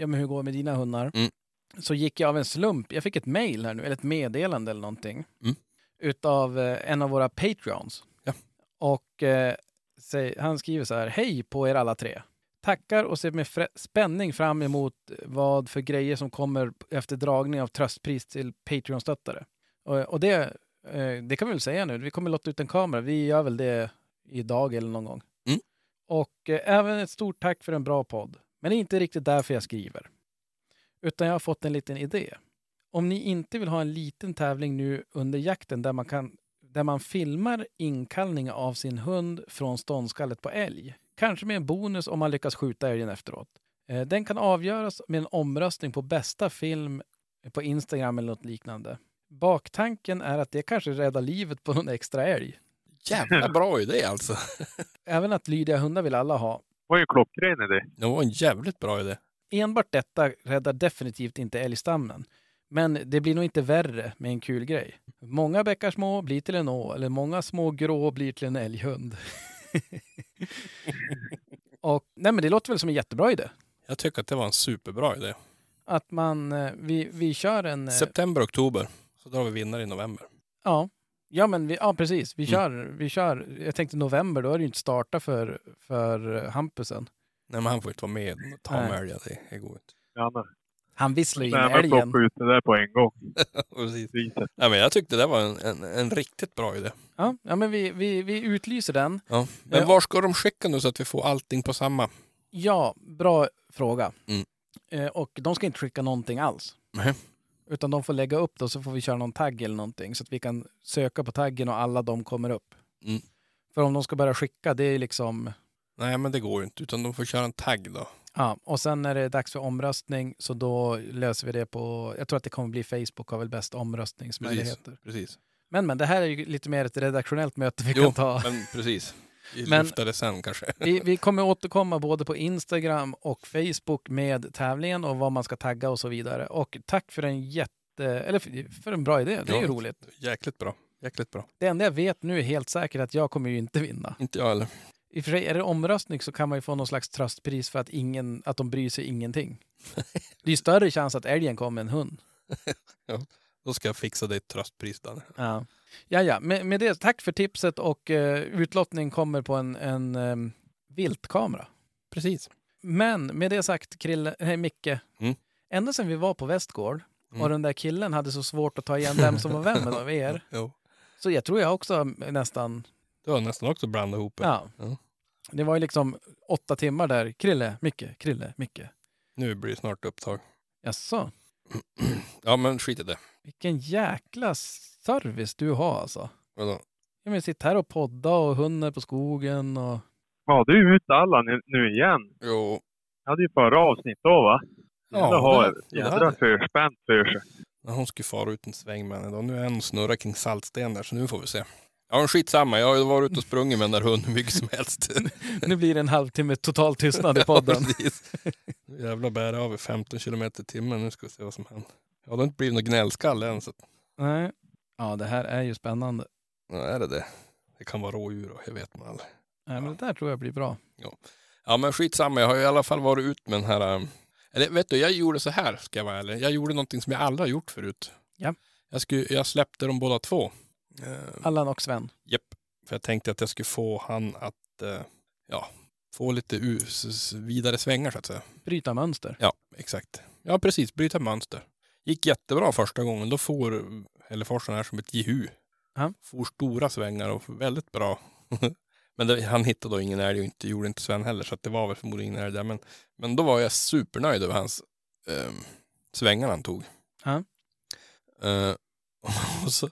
ja, men hur det går med dina hundar, Mm. så gick jag av en slump, jag fick ett mejl här nu, eller ett meddelande eller någonting, Mm. utav eh, en av våra Patreons. Ja. Och eh, säg, han skriver så här, hej på er alla tre. Tackar och ser med frä- spänning fram emot vad för grejer som kommer efter dragning av tröstpris till Patreon-stöttare. Och, och det, eh, det kan vi väl säga nu, vi kommer lotta ut en kamera, vi gör väl det idag eller någon gång. Mm. Och eh, även ett stort tack för en bra podd. Men det är inte riktigt därför jag skriver. Utan jag har fått en liten idé. Om ni inte vill ha en liten tävling nu under jakten där man, kan, där man filmar inkallning av sin hund från ståndskallet på älg. Kanske med en bonus om man lyckas skjuta älgen efteråt. Eh, Den kan avgöras med en omröstning på bästa film på Instagram eller något liknande. Baktanken är att det kanske räddar livet på någon extra älg. Jävla bra idé alltså. Även att lydiga hundar vill alla ha. Det var ju en klockren idé. Det var en jävligt bra idé. Enbart detta räddar definitivt inte älgstammen. Men det blir nog inte värre med en kul grej. Många bäckar små blir till en å, eller många små grå blir till en älghund. Och, nej men det låter väl som en jättebra idé. Jag tycker att det var en superbra idé. Att man, eh, vi, vi kör en... eh, September, oktober. Så drar vi vinnare i november. Ja, ja men vi, ja, precis. Vi kör, vi kör, jag tänkte november, då är det ju inte starta för, för eh, Hampusen. Nej, men han får inte vara med. Ta Nej. med älgar, det det går inte. Janne. Han visslar ju in Nej, men älgen. plocka ut det där på en gång. Precis. Priset. Nej, men jag tyckte det var en, en, en riktigt bra idé. Ja, ja men vi, vi, vi utlyser den. Ja. Men Ja. var ska de skicka nu så att vi får allting på samma? Ja, bra fråga. Mm. Eh, och de ska inte skicka någonting alls. Nej. Utan de får lägga upp det och så får vi köra någon tagg eller någonting så att vi kan söka på taggen och alla de kommer upp. Mm. För om de ska börja skicka, det är liksom... Nej, men det går ju inte. Utan de får köra en tagg då. Ja, och sen när det är dags för omröstning så då löser vi det på... Jag tror att det kommer bli Facebook har väl bäst omröstningsmöjligheter. Precis. Men men, det här är ju lite mer ett redaktionellt möte vi Jo, kan ta. men precis. Vi Men- lyfter det sen kanske. Vi, vi kommer återkomma både på Instagram och Facebook med tävlingen och vad man ska tagga och så vidare. Och tack för en jätte, eller för, för en bra idé. Det är ju Ja. roligt. Jäkligt bra. Jäkligt bra. Det enda jag vet nu är helt säkert att jag kommer ju inte vinna. Inte jag heller. I och för sig, är det omröstning så kan man ju få någon slags tröstpris för att, ingen, att de bryr sig ingenting. Det är ju större chans att älgen kommer än hund. Då ska jag fixa dig ett tröstpris, Danne. Ja, ja, ja. Med, med det, tack för tipset och eh, utlottning kommer på en, en eh, viltkamera. Precis. Men med det sagt, Krille, nej, Micke. Mm. Ända sedan vi var på Västgård och Mm. den där killen hade så svårt att ta igen vem som var vem av er. Jo. Så jag tror jag också nästan... Du har nästan också blandat ihop det. Ja. Ja. Det var ju liksom åtta timmar där. Krille, Micke, Krille, Micke. Nu blir det snart upptag. Jaså, Ja, men skit i det. vilken jäkla service du har alltså. Vadå? Jag menar, sitt här och podda och hunden är på skogen och... Ja, du är ut alla nu, nu igen. Jo. Jag hade ju förra avsnitt då va? Ja, Jävlar har det- det jädra hade- förspänt för sig. När hon skulle fara ut en sväng med henne då. Nu är hon och snurrar kring saltstenar, så nu får vi se. Ja, men skitsamma. Jag har ju varit ute och sprungit med den där hunden hur mycket som helst. Nu blir det en halvtimme total tystnad i podden. Ja, precis. Nu jävlar bär det över 15 kilometer i timmen. Nu ska vi se vad som händer. Ja, det har inte blivit någon gnällskalle än, så att- Nej. Ja, det här är ju spännande. ja, är det det. Det kan vara rådjur och det vet man aldrig. Nej, men det där tror jag blir bra. Ja, men skitsamma. Jag har ju i alla fall varit ut med den här... ähm, Eller vet du, jag gjorde så här, ska jag vara ärlig. Jag gjorde någonting som jag aldrig har gjort förut. Ja. Jag, skulle, jag släppte dem båda två. Eh, Allan och Sven. Japp, för jag tänkte att jag skulle få han att eh, ja, få lite u- s- s- vidare svängar så att säga. Bryta mönster. Ja, exakt. Ja, precis. Bryta mönster. Gick jättebra första gången. Då får Hälleforsen här som ett jehu. Ja. Får stora svängar och väldigt bra. men det, han hittade då ingen älg och inte, gjorde inte Sven heller så att det var väl förmodligen ingen älg där. Men, men då var jag supernöjd över hans eh, svängar han tog. Ja. Eh, och så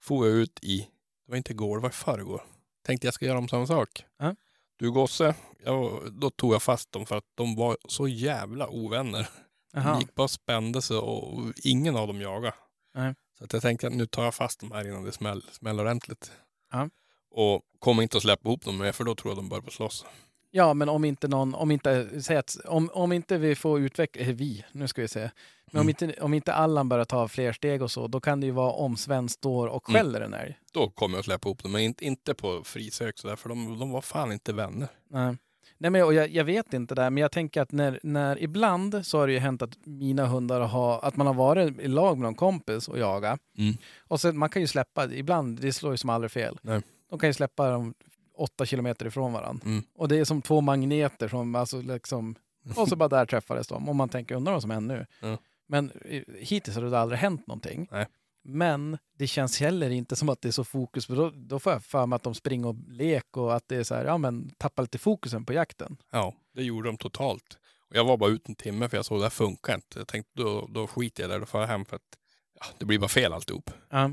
får jag ut i, det var inte igår, det var i förrgår. Tänkte jag ska göra om samma sak. Ja. Du Gosse, jag, då tog jag fast dem för att de var så jävla ovänner. Jaha. De gick bara och spände sig och ingen av dem jagade. Nej. Så att jag tänkte att nu tar jag fast de här innan det smäll, smäller ordentligt. Ja. Och kommer inte att släppa ihop dem mer för då tror jag de börjar på slåss. Ja, men om inte någon, om inte, säg att, om, om inte vi får utveckla, eh, vi, nu ska vi se, men om, Mm. inte, om inte Allan börjar ta fler steg och så, då kan det ju vara om Sven står och Mm. skäller en älg. Då kommer jag att släppa ihop dem, men inte, inte på frisök sådär för de, de var fan inte vänner. Nej. Nej, men jag, jag- jag vet inte där, men jag tänker att när, när ibland så har det ju hänt att mina hundar har, att man har varit i lag med någon kompis och jaga. Mm. Och sen, man kan ju släppa, ibland, det slår ju som aldrig fel. Nej. De kan ju släppa dem åtta kilometer ifrån varandra. Mm. Och det är som två magneter som, alltså liksom, och så bara där träffades de. Och man tänker, undrar vad som händer nu. Ja. Men eh, hittills har det aldrig hänt någonting. Nej. Men det känns heller inte som att det är så fokus, för då, då får jag för mig att de springer och lek och att det är så här, ja men tappar lite fokusen på jakten. Ja, det gjorde de totalt. Och jag var bara ute en timme för jag såg det här funkar inte. Jag tänkte då, då skiter jag i det, då får jag hem för att ja, det blir bara fel alltihop. Ja.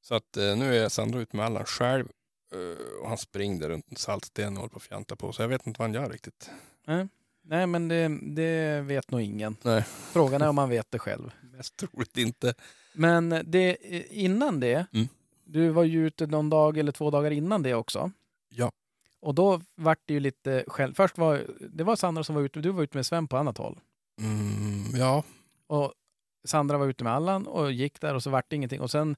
Så att eh, nu är Sandra ute med Allan själv eh, och han springde runt en saltsten och håller på att fjanta på så jag vet inte vad han gör riktigt. Nej men det, det vet nog ingen. Nej. Frågan är om man vet det själv. Mest troligt inte. Men det, innan det, Mm. du var ju ute någon dag eller två dagar innan det också. Ja. Och då vart det ju lite själv. Först var det var Sandra som var ute, du var ute med Sven på annat håll. Mm, ja, Och Sandra var ute med Allan och gick där och så vart det ingenting. Och sen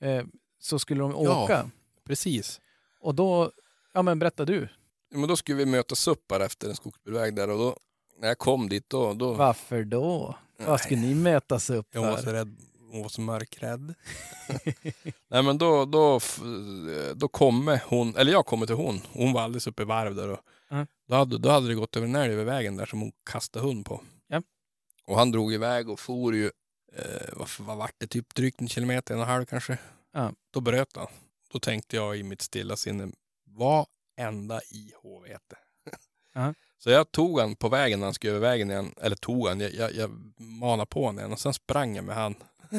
eh, så skulle de Ja. åka. precis. Och då, ja men berätta du. Ja, men då skulle vi mötas upp här efter en skogsbilväg där och då när jag kom dit då, då Varför då? Nej. Vad skulle ni mötas upp Jag var för? så rädd. Hon var så mörkrädd. Nej men då, då, f- då kommer hon, eller jag kommer till hon. Hon var alldeles uppe i varv där. Och Mm. då, hade, då hade det gått över en älg över vägen där som hon kastade hund på. Ja. Och han drog iväg och for ju, eh, vad, f- vad vart det, typ drygt en kilometer, en och en halv kanske. Ja. Då bröt han. Då tänkte jag i mitt stilla sinne, vad ända i HVT. Ja. Så jag tog han på vägen när han skulle över vägen igen, eller tog han, jag, jag, jag manade på honom igen och sen sprang jag med han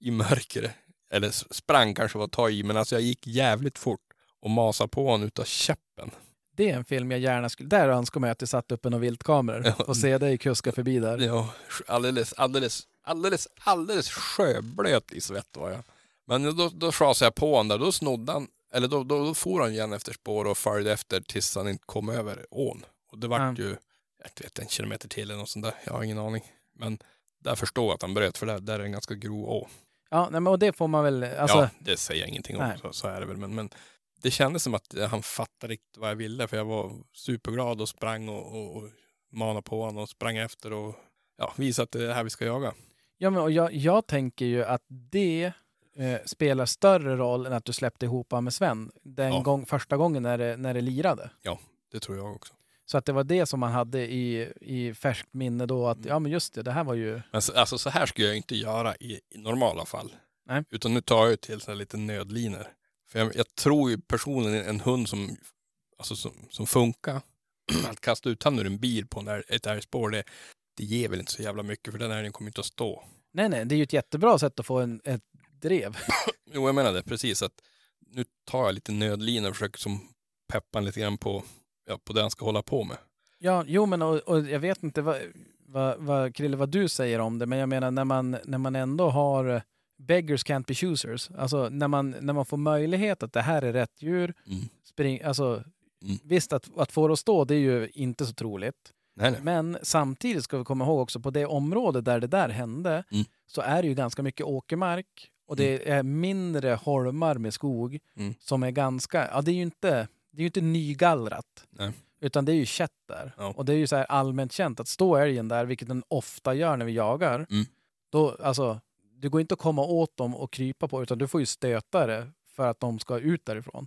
i mörkret. Eller s- sprang kanske var att ta i, men alltså jag gick jävligt fort och masade på honom utav käppen. Det är en film jag gärna skulle... Där önskar man ju att jag satt upp en och viltkameror Ja. och se dig kuska förbi där. Ja, alldeles, alldeles, alldeles, alldeles sjöblöt i svett var jag. Men då, då schasade jag på honom där, då snodde han, eller då, då, då for han igen efter spår och följde efter tills han inte kom över ån. Och det vart Ja. ju, jag vet en kilometer till eller något sånt där, jag har ingen aning. Men där förstår jag att han bröt, för där, där är en ganska grov å. Ja, nej, men och det får man väl... Alltså, ja, det säger jag ingenting om, Nej. så, så är det väl. Men, men det kändes som att han fattade riktigt vad jag ville, för jag var superglad och sprang och, och, och manade på honom och sprang efter och ja, visade att det är det här vi ska jaga. Ja, men, och jag, jag tänker ju att det eh, spelar större roll än att du släppte ihop han med Sven den Ja. gång, första gången när det, när det lirade. Det tror jag också. Så att det var det som man hade i, i färskt minne då, Mm. att ja men just det, det här var ju... Men så, alltså så här skulle jag inte göra i, i normala fall. Nej. Utan nu tar jag ju till så här lite nödlinor. För jag, jag tror ju personligen en hund som, alltså som, som funkar, att kasta ut han ur en bil på en, älg- ett älgspår, det, det ger väl inte så jävla mycket för den älgen kommer inte att stå. Nej, nej, det är ju ett jättebra sätt att få en, ett drev. Jo, jag menar det. Precis. att Nu tar jag lite nödlina och försöker som peppa en lite grann på, ja, på det han ska hålla på med. Ja, jo men och, och jag vet inte vad, vad, vad, Krille, vad du säger om det, men jag menar när man, när man ändå har eh, beggars can't be choosers, alltså när man, när man får möjlighet att det här är rätt djur, Mm. spring, alltså Mm. visst att, att få det att stå, det är ju inte så troligt. Nej, nej. Men samtidigt ska vi komma ihåg också på det område där det där hände Mm. så är det ju ganska mycket åkermark och det är mindre holmar med skog Mm. som är ganska, ja det är ju inte, det är ju inte nygallrat. Nej. Utan det är ju kätt där. Ja. Och det är ju så här allmänt känt att stå älgen där, vilket den ofta gör när vi jagar, Mm. då alltså, det går inte att komma åt dem och krypa på utan du får ju stöta det för att de ska ut därifrån.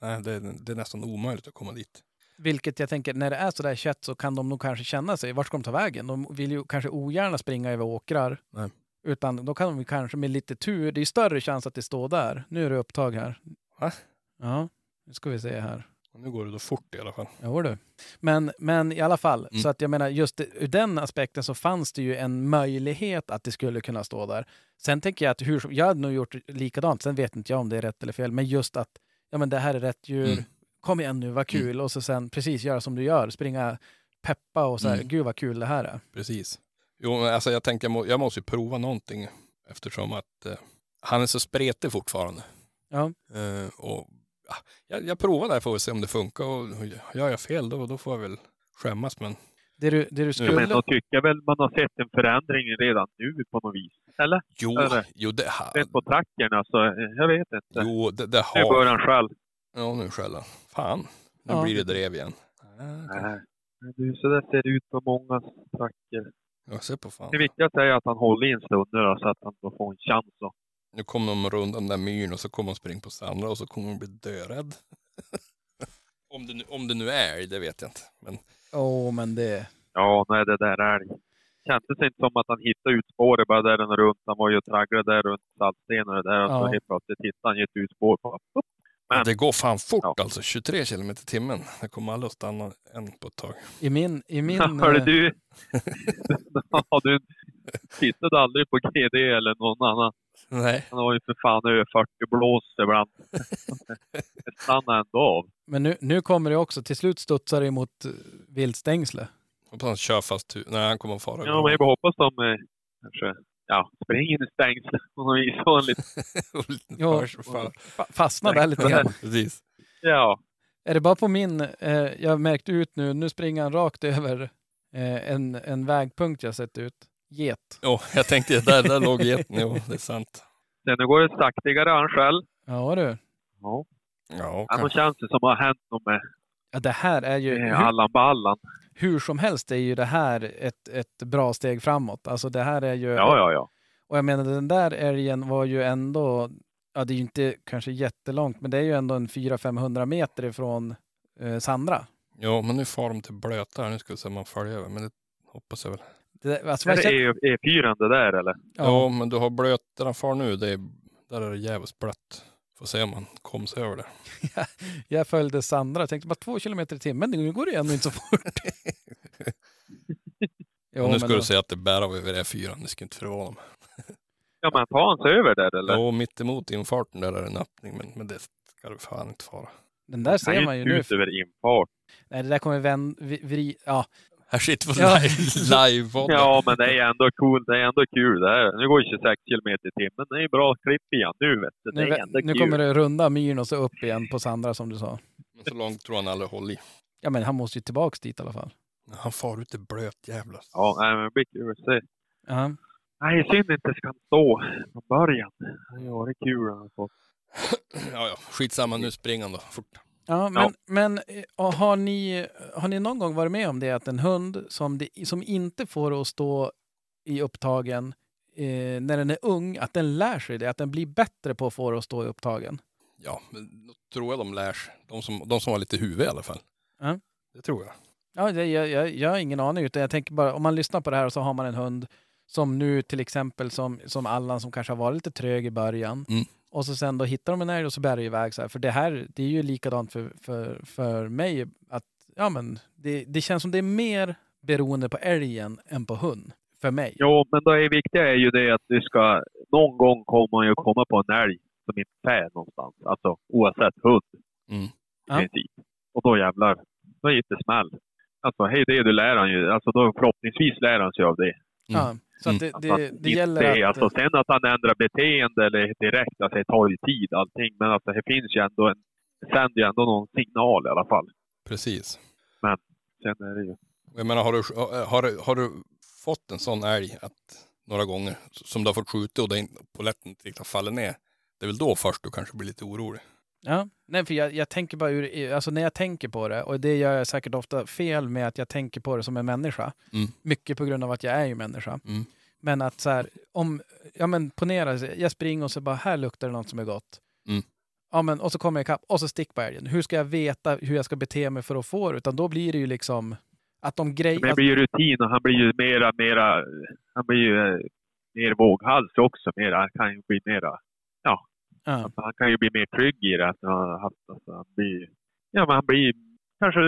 nej det, är- det är nästan omöjligt att komma dit. Vilket jag tänker, när det är sådär kött så kan de nog kanske känna sig, vart ska de ta vägen? De vill ju kanske ogärna springa över åkrar. Nej. Utan då kan de ju kanske med lite tur, det är ju större chans att det står där. Nu är det upptag här. Va? Ja, nu ska vi se här. Och nu går det då fort i alla fall. Jo du. Men, men i alla fall, Mm. så att jag menar just det- ur den aspekten så fanns det ju en möjlighet att det skulle kunna stå där. Sen tänker jag att hur, som- jag hade nog gjort likadant, sen vet inte jag om det är rätt eller fel, men just att ja men det här är rätt djur, Mm. kom igen nu, vad kul, och så sen precis göra som du gör, springa, peppa och så här, Mm. gud vad kul det här är. Precis. Jo, men alltså jag tänkte jag, må, jag måste ju prova någonting. Eftersom att eh, han är så spretig fortfarande. Ja. Eh, och, ja, jag, jag provar där får vi se om det funkar. Och, och gör jag fel då, då får jag väl skämmas. Men Det du, det du Men skulle... då tycker jag väl man har sett en förändring redan nu på något vis. Eller? jo, Eller? jo, det, ha, Rätt på tracken alltså. Jag vet inte. jo, det, det Nu börjar han har... själv. Ja, nu skäller han. Fan, nu Ja. blir det drev igen. Nej. Men Du, så där ser det ut på många tracker. Jag ser på fan. Det viktigaste är att han håller i en stund nu då, så att han då får en chans. Då. Nu kommer de runt den där myren och så kommer de springa på Sandra och så kommer hon bli dörädd. om, det nu, om det nu är älg, det vet jag inte. Men Åh, men det... Ja, nej det där är det. Kändes inte som att han hittade ut spåret bara där den runt. Han var ju och tragglade där runt saltstenen och det där. Och så Ja. helt plötsligt hittade han ju ett utspår. På. Men- det går fan fort Ja. alltså, 23 kilometer i timmen. Det kommer aldrig att stanna en på ett tag. I min... I min Hörde eh, du? ja, du tittade aldrig på GD eller någon annan. Nej. Han har ju för fan över 40 blås ibland. Det stannar ändå av. Men nu, nu kommer det också. Till slut studsar det mot eh, viltstängsle. Hoppas han kör fast hu- Nej, han kommer att fara. Ja, men jag bara hoppas de eh, kanske ja, springer i stängslet på något vis. Och en liten, Ja, ja. och fa- fastna där lite grann. Precis. ja, Är det bara på min... Eh, jag märkte ut nu, nu springer han rakt över eh, en, en vägpunkt jag sett ut. Get. Jo, jag tänkte där, där låg geten. Jo, det är sant. sen nu går det saktigare han själv. Ja du. Ja, Ja, ja, då kanske. känns det som att det har hänt något med Ja, det här är ju... eh, Hur, Allan Ballan. hur som helst är ju det här ett, ett bra steg framåt. Alltså det här är ju... Ja, ja, ja. Och jag menar den där älgen var ju ändå... Ja, det är ju inte kanske jättelångt, men det är ju ändå en 400-500 meter ifrån eh, Sandra. Jo, men nu far de till blöta här. Nu ska vi se om man följer över. Men det hoppas jag väl. Det, alltså, Är man det känner- E- E4 det där eller? Ja, men du har blöt där han far nu. Det är, där är det jävligt blött. Får se om han kom sig över det. Jag följde Sandra och tänkte bara två kilometer i timmen, nu går det ju ändå inte så fort. jo, Och nu men ska då- du säga att det bär av över E4. Det ska inte förvåna mig. Ja, men tar han sig över där eller? Jo, mittemot infarten där är det en öppning. Men, men det ska du fan inte fara. Den där han är ser man ju inte nu. ut över infart. Nej, det där kommer vän, vi, vri, ja. Här sitter vi Ja. live, live Ja, men det är ändå cool. Det är ändå kul det här. Nu går det 26 kilometer i timmen. Det är ju bra klipp igen nu vet du. Det Nu, är ändå nu kul. kommer det runda myren och så upp igen på Sandra som du sa. Men så långt tror han aldrig håller i. Ja, men han måste ju tillbaks dit i alla fall. Men Han far ut i blöt jävla. Ja, nej, men det blir kul att se. Ja. Nej, synd inte ska han stå från början. Det var det kul han har fått. ja, ja. Skitsamma, nu springer han då. Fort. Ja, men, men eh, och har, ni, har ni någon gång varit med om det att en hund som, det, som inte får det att stå i upptagen eh, när den är ung, att den lär sig det, att den blir bättre på att få det att stå i upptagen? Ja, men då tror jag de lär sig. De som, de som har lite huvud i alla fall. Ja. Det tror jag. Ja, det, jag, jag, jag har ingen aning. Utan jag tänker bara, om man lyssnar på det här och så har man en hund som nu till exempel som, som Allan som kanske har varit lite trög i början. Mm. Och så sen då hittar de en älg och så bär det iväg så här. För det här, det är ju likadant för, för, för mig. att ja, men det, det känns som det är mer beroende på älgen än på hund. För mig. Jo, men det viktiga är ju det att du ska... Någon gång kommer man ju komma på en älg som inte fär någonstans. Alltså oavsett hund Mm. Ja. i princip. Och då jävlar, då gick det smäll. Alltså hej det du lär han ju. Alltså då förhoppningsvis lär han sig av det. Ja, så att det, Alltså, det, att det inte- gäller att... Alltså, sen att han ändrar beteende eller direkt, alltså det tar ju tid allting. Men alltså det finns ju ändå en... Det sänder ju ändå någon signal i alla fall. Precis. Sen är det ju... Jag menar, har du, har, du- har du fått en sån älg att, några gånger som du har fått skjuta och den polletten inte riktigt har fallit ner. Det är väl då först du kanske blir lite orolig. Ja, nej, för jag, jag tänker bara ur, alltså när jag tänker på det, och det gör jag säkert ofta fel med att jag tänker på det som en människa. Mm. Mycket på grund av att jag är ju människa. Mm. Men att så här, om, ja men ponera, jag springer och så bara här luktar det något som är gott. Mm. Ja men och så kommer jag ikapp och så stick på älgen. Hur ska jag veta hur jag ska bete mig för att få det? Utan då blir det ju liksom att de Men det grejer... blir ju rutin och han blir ju mera, mera, han blir ju eh, mer våghalsig också. Mera, han kan ju bli mera, ja, alltså, han kan ju bli mer trygg i det. Att han, har haft, alltså, han blir, ja men han blir, kanske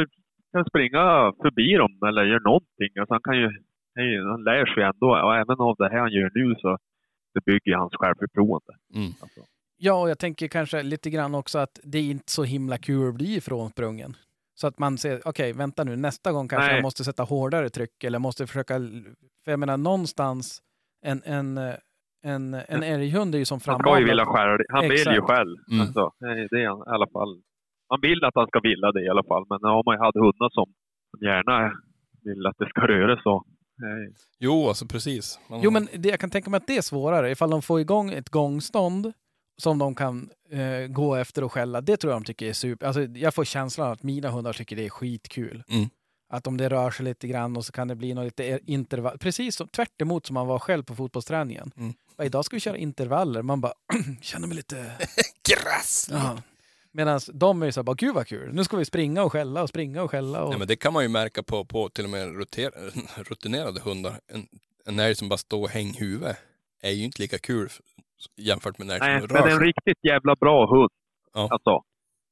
kan springa förbi dem eller gör någonting. Alltså, han kan ju, han är ju- han lär sig ändå. Och även av det här han gör nu så det bygger ju hans självförtroende. Mm. Alltså, ja, och jag tänker kanske lite grann också att det är inte så himla kul att bli ifrånsprungen. Så att man ser, okej, vänta nu, nästa gång kanske Nej. jag måste sätta hårdare tryck eller måste försöka... För jag menar någonstans, en, en, eh, En, en älghund är ju som Han ska ju framavlad. vilja själv. Han vill ju Exakt. själv. Mm. Alltså, det är det han, i alla fall. Man vill att han ska vilja det i alla fall, men om man hade hundar som som gärna vill att det ska röra så. eh, Jo, alltså precis. Man- Jo, men det, jag kan tänka mig att det är svårare. Ifall de får igång ett gångstånd som de kan eh, gå efter och skälla. Det tror jag de tycker är super. Alltså, jag får känslan att mina hundar tycker det är skitkul. Mm. Att om det rör sig lite grann och så kan det bli något lite er- intervall. Precis som, tvärt emot som man var själv på fotbollsträningen. Mm. Bara, idag ska vi köra intervaller. Man bara känner mig lite... Grasslig! Ja. Medan de är ju så här, bara, gud vad kul. Nu ska vi springa och skälla och springa och skälla. Och... Nej, men det kan man ju märka på, på till och med ruter- rutinerade hundar. En, en älg som bara står och hänger huvudet är ju inte lika kul f- jämfört med en Nej, älg som men rör en sig. riktigt jävla bra hund. Ja. Alltså,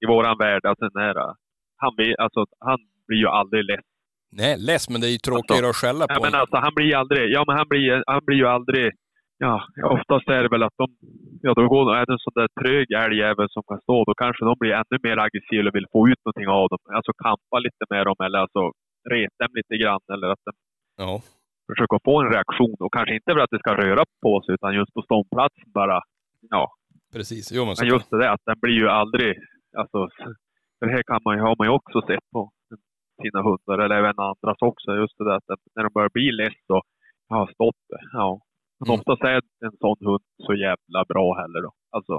i våran värld. Alltså, den här, eh, han, vill, alltså, han blir ju aldrig less. Nej, less, men det är ju tråkigare att skälla Nej, på. men alltså, han blir ju aldrig... Ja, men han blir, han blir ju aldrig... Ja, oftast är det väl att de... Ja, då går, är det en sån där trög älgjävel som kan stå, då kanske de blir ännu mer aggressiva och vill få ut någonting av dem. Alltså kampa lite med dem eller alltså reta dem lite grann eller att de Ja, försöker få en reaktion. Och kanske inte för att det ska röra på sig utan just på ståndplatsen bara. Ja, precis. Jo, men så Men just det där att den blir ju aldrig... Alltså, för det här kan man ju, har man ju också sett på sina hundar, eller även andras också. Just det där att när de börjar bli less så har stått det. Ja. Men Mm. oftast är en sån hund så jävla bra heller då. Alltså,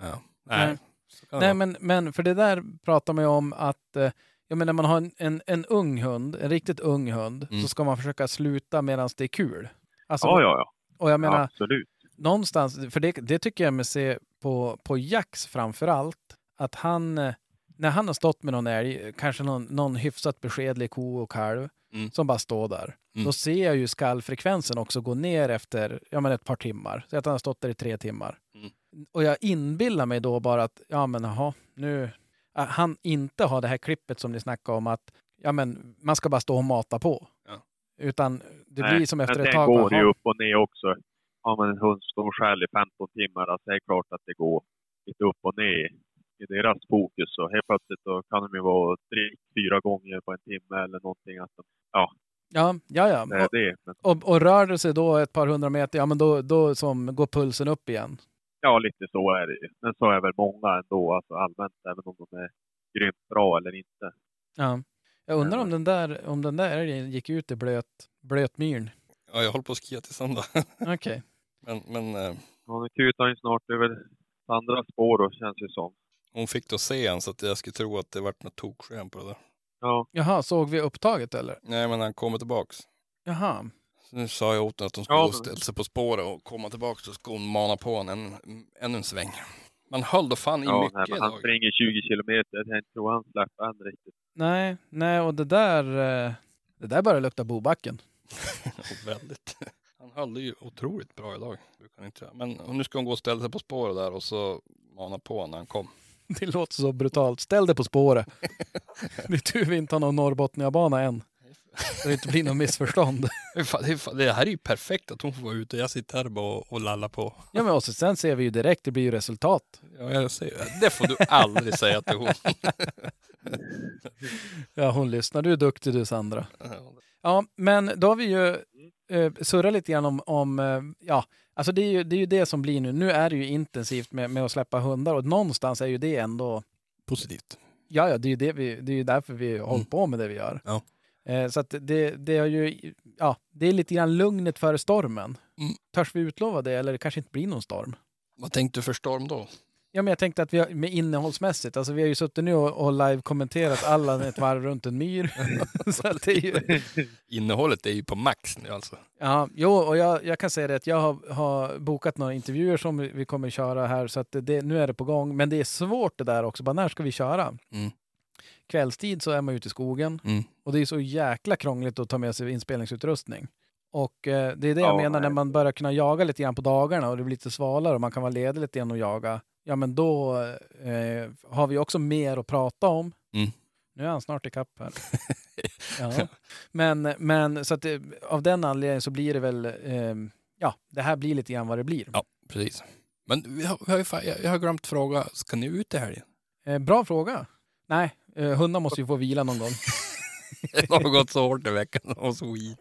Ja. Nej. Nej. Så kan det Nej, vara. men, men för det där pratar man ju om att eh, ja, men när man har en, en, en ung hund, en riktigt ung hund, Mm. så ska man försöka sluta medan det är kul. Alltså, ja, ja, ja. Och jag menar, absolut. någonstans, för det, det tycker jag mig se på, på Jax framför allt, att han, eh, när han har stått med någon älg, kanske någon, någon hyfsat beskedlig ko och kalv, Mm. som bara står där, Mm. då ser jag ju skallfrekvensen också gå ner efter ja, men ett par timmar. Så att han har stått där i tre timmar. Mm. Och jag inbillar mig då bara att, ja men jaha, nu, att han inte har det här klippet som ni snackade om att, ja men man ska bara stå och mata på. Ja. Utan det Nej, blir som efter Men ett sen tag, går det bara, ju "Ja, upp och ner också. Har man en hund som skäl i 15 timmar, alltså det är klart att det går lite upp och ner i deras fokus. Så helt plötsligt då kan de ju vara tre, fyra gånger på en timme eller någonting. Att de, ja, ja, ja. det är det. Men, Och, och rör det sig då ett par hundra meter, ja men då, då som går pulsen upp igen. ja, lite så är det ju. Men så är väl många ändå, alltså allmänt, även om de är grymt bra eller inte. Ja. Jag undrar om den där, om den där älgen gick ut i blöt, blötmyren. ja, jag håller på att skia till söndag. Okej. men men eh, Ja, nu kutar ju snart över andra spår då, känns det som. hon fick då se en så att jag skulle tro att det vart något toksken på det där. Ja, Jaha, såg vi upptaget eller? Nej, men han kommer tillbaks. Jaha. Så nu sa jag åt henne att hon skulle Ja, gå och men- ställa sig på spåret och komma tillbaka så skulle hon mana på henne en, ännu en sväng. Man höll då fan i ja nej, mycket men han idag. springer 20 kilometer. Jag tror han släpper han riktigt. Nej, nej och det där, eh, det där börjar lukta bobacken. Och Väldigt. Han höll ju otroligt bra idag. Brukar han inte göra. Men och nu ska hon gå och ställa sig på spåret där och så mana på honom när han kom. Det låter så brutalt. Ställ dig på spåret. Det är tur vi inte har någon Norrbotniabana än. Så det inte blir något missförstånd. Det är fan- det är fan- Det här är ju perfekt att hon får vara ute. Jag sitter här bara och, och lallar på. Ja men och så, sen ser vi ju direkt, det blir ju resultat. Ja, jag ser. Det får du aldrig säga till hon. Ja hon lyssnar, du är duktig du Sandra. Ja, Ja, men då har vi ju eh, surrat lite grann om, om eh, ja, alltså det är, ju, det är ju det som blir nu. Nu är det ju intensivt med, med att släppa hundar och någonstans är ju det ändå, Positivt. ja, ja, det är ju, det vi, det är ju därför vi håller på med det vi gör. Mm. Ja. Eh, så att det, det är ju, ja, det är lite grann lugnet före stormen. Mm. Törs vi utlova det eller det kanske inte blir någon storm? Vad tänkte du för storm då? Ja, men jag tänkte att vi har, med innehållsmässigt, alltså vi har ju suttit nu och, och live-kommenterat Allan ett varv runt en myr. så att det är ju, Innehållet är ju på max nu alltså. Ja, jo, och jag, jag kan säga det att jag har, har bokat några intervjuer som vi vi kommer köra här så att det- det, nu är det på gång. Men det är svårt det där också, bara när ska vi köra? Mm. Kvällstid så är man ute i skogen Mm. och det är så jäkla krångligt att ta med sig inspelningsutrustning. Och eh, det är det jag Ja, menar när nej. man börjar kunna jaga lite grann på dagarna och det blir lite svalare och man kan vara ledig lite grann och jaga. Ja, men då eh, har vi också mer att prata om. Mm. Nu är han snart ikapp här. ja. Men, men så att det, av den anledningen så blir det väl, eh, ja, det här blir lite grann vad det blir. Ja. Precis. Men vi har, vi har ju fa- jag, jag har glömt fråga, ska ni ut i helgen? Eh, bra fråga. Nej, eh, hundar måste ju få vila någon gång. Det har gått så hårt i veckan och så skit.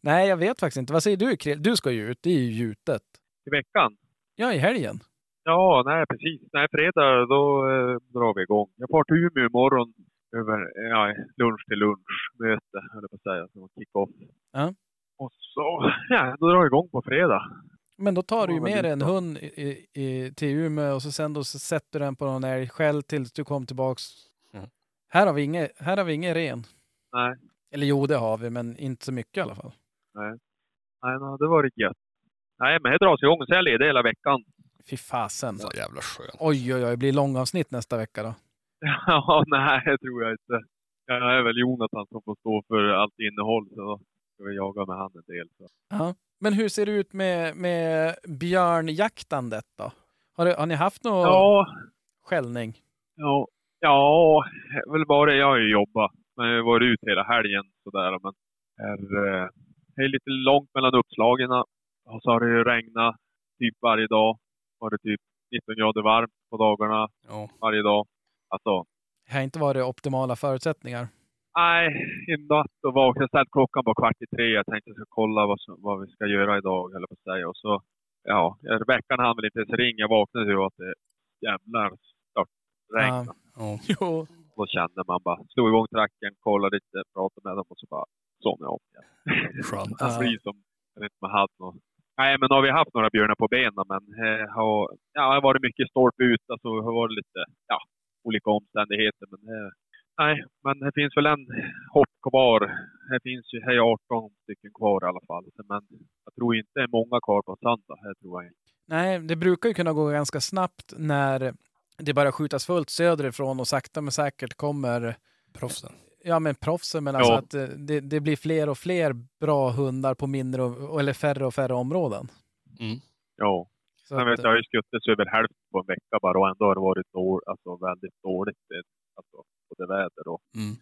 Nej, jag vet faktiskt inte. Vad säger du, Krill? Du ska ju ut, det är ju gjutet. i veckan. Ja, i helgen. Ja, nej precis. Nej, fredag då eh, drar vi igång. Jag far till Umeå imorgon över ja, lunch till lunchmöte, höll jag på att säga, som kick-off. Ja. Och så, ja, då drar jag igång på fredag. Men då tar du ju Ja, vad med dig en lite. hund i, i, i, till Umeå och så sen då så sätter du den på någon älg själv tills du kom tillbaks. Mm. Här har vi inget, här har vi ingen ren. Nej. Eller jo, det har vi, men inte så mycket i alla fall. Nej, nej det var det gött. Nej, men det dras igång. Så jag är ledig hela veckan. Fy fasen. Så jävla skönt. Oj, oj, oj, det blir långavsnitt nästa vecka då. ja, nej, det tror jag inte. Ja, Det är väl Jonathan som får stå för allt innehåll, så då ska vi jaga med han en del. Så. Ja. Men hur ser det ut med, med björnjaktandet då? Har, du- har ni haft någon Ja, skällning? Ja, ja väl bara jag har ju jobbat. Men jag har varit ute hela helgen sådär. Men är, eh, det är lite långt mellan uppslagen. Och så har det ju regnat typ varje dag. Var det typ 19 grader varmt på dagarna Ja. varje dag. Alltså, Det har inte varit optimala förutsättningar. nej, i natt då vaknade jag ställt klockan på kvart i tre. Jag tänkte jag ska kolla vad, som, vad vi ska göra idag, eller på att säga. Och så, ja, veckan hann väl inte ens ringa. Jag vaknade ju att det jävlar stört regn. Ja. Ja. Jo. Då kände man bara, slog igång tracken, kollade lite, pratade med dem och så bara somnade jag om igen. Skönt. Ja. Alltså, Det blir som, jag vet inte om jag hade någon. Nej, men nu har vi haft några björnar på benen, men eh, har, ja, det har varit mycket stolpe ut, alltså det har varit lite, ja, olika omständigheter. Men, eh, nej, men det finns väl en hopp kvar. Det finns ju, här är 18 stycken kvar i alla fall. Men jag tror inte det är många kvar på söndag, det tror jag inte. Nej, det brukar ju kunna gå ganska snabbt när det börjar skjutas fullt söderifrån och sakta men säkert kommer Proffsen. ja, men proffsen. Men alltså Ja. att eh, det, det blir fler och fler bra hundar på mindre och, eller färre och färre områden. Ja. Så Jag, att, vet, jag har ju skuttats över hälften på en vecka bara och ändå har det varit dåligt, alltså väldigt dåligt. eh, Alltså, både väder och... Mm.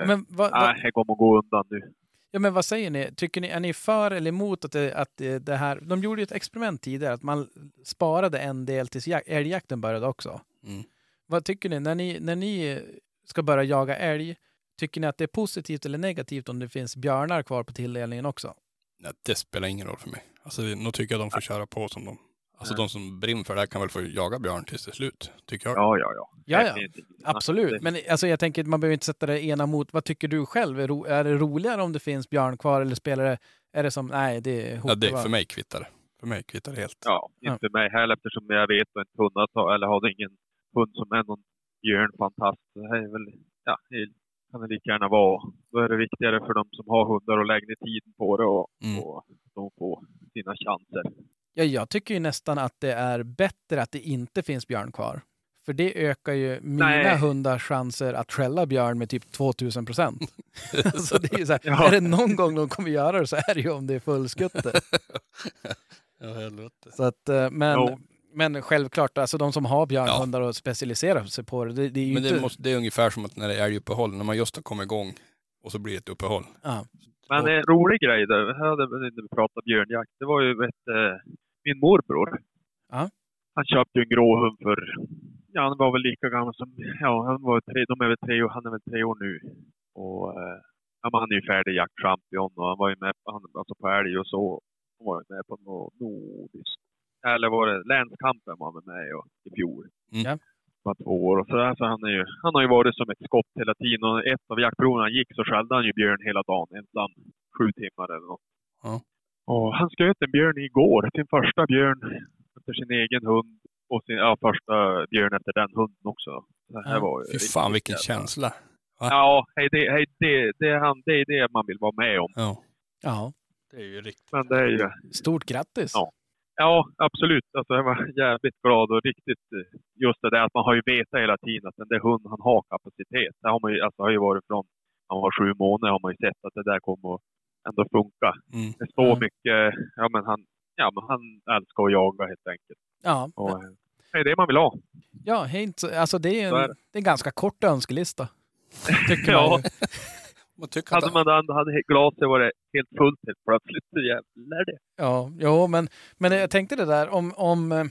eh, men, vad, vad, Nej, det kommer att gå undan nu. ja, men vad säger ni? Tycker ni, är ni för eller emot att det, att det det här... De gjorde ju ett experiment tidigare, att man sparade en del tills jak- älgjakten började också. Mm. Vad tycker ni? När, ni? när ni ska börja jaga älg, tycker ni att det är positivt eller negativt om det finns björnar kvar på tilldelningen också? Nej, det spelar ingen roll för mig. Alltså, det- nu tycker jag de får köra på som de... Alltså de som brinner för det här kan väl få jaga björn tills det är slut, tycker jag. Ja, ja, ja. Ja, Det ja. är inte- Absolut, men alltså, jag tänker att man behöver inte sätta det ena mot. Vad tycker du själv? Är, ro, är det roligare om det finns björn kvar eller spelar det, är det som, nej det är hot Ja, det, va? för mig kvittar det. För mig kvittar det helt. Ja, inte mig heller eftersom jag vet och inte hunnit ta, eller har ingen hund som är någon björnfantast. Det här är väl, ja, det kan det lika gärna vara. Då är det viktigare för de som har hundar och lägger ner tiden på det och, Mm. och de får sina chanser. Ja, jag tycker ju nästan att det är bättre att det inte finns björn kvar. För det ökar ju mina Nej. hundars chanser att skälla björn med typ 2000 procent. alltså, det är, ju så här, är det någon gång de kommer göra det så är det ju om det är fullskutte. Ja, helvete. Så att, eh, men, Jo. men självklart, alltså de som har björnhundar och specialiserar sig på det, det, det är ju Men inte... det, måste, det är ungefär som att när det är älguppehåll, när man just har kommit igång och så blir det ett uppehåll. Ja. Men en rolig grej där, det hade vi inte pratat björnjakt, det var ju vet, eh, min morbror. Ja. Han köpte ju en grå hund för, ja han var väl lika gammal som, ja han var tre, de är väl tre år, han är väl tre år nu. Och eh, ja, men han är ju färdig jaktchampion och han var ju med på- han, alltså på älg och så. Han var ju med på något nordiskt, eller var det länskampen var han med i och, i fjol. Mm. Ja. Var två år och sådär, så han, är ju, han har ju varit som ett skott hela tiden och ett av jaktproven han gick så skällde han ju björn hela dagen ensam sju timmar eller något. Ja. Och han sköt en björn igår, sin första björn efter sin egen hund och sin ja, första björn efter den hunden också. Det här Ja, var ju Fy riktigt fan vilken jävla- känsla. Ja, hej, det, hej, det, det, är han, det är det man vill vara med om. Ja. Ja, Det är ju riktigt. Men det är ju, stort grattis! Ja. ja absolut. Alltså, jag var jävligt glad och riktigt eh, just det där att man har ju vetat hela tiden att den där hunden han har kapacitet. Det har man ju, alltså, har ju varit från han var sju månader har man ju sett att det där kommer att ändå funka. Mm. Det står Mm. mycket, ja men han, ja men han älskar att jaga helt enkelt. Ja, Och, eh, det är det man vill ha. ja helt, alltså det är, Så är en, det. det är en ganska kort önskelista. Tycker Ja. man ju. Man tycker att Hade man den, hade glaset varit helt fullt helt plötsligt så jävlar det. Ja, jo, men, men jag tänkte det där om... om eh,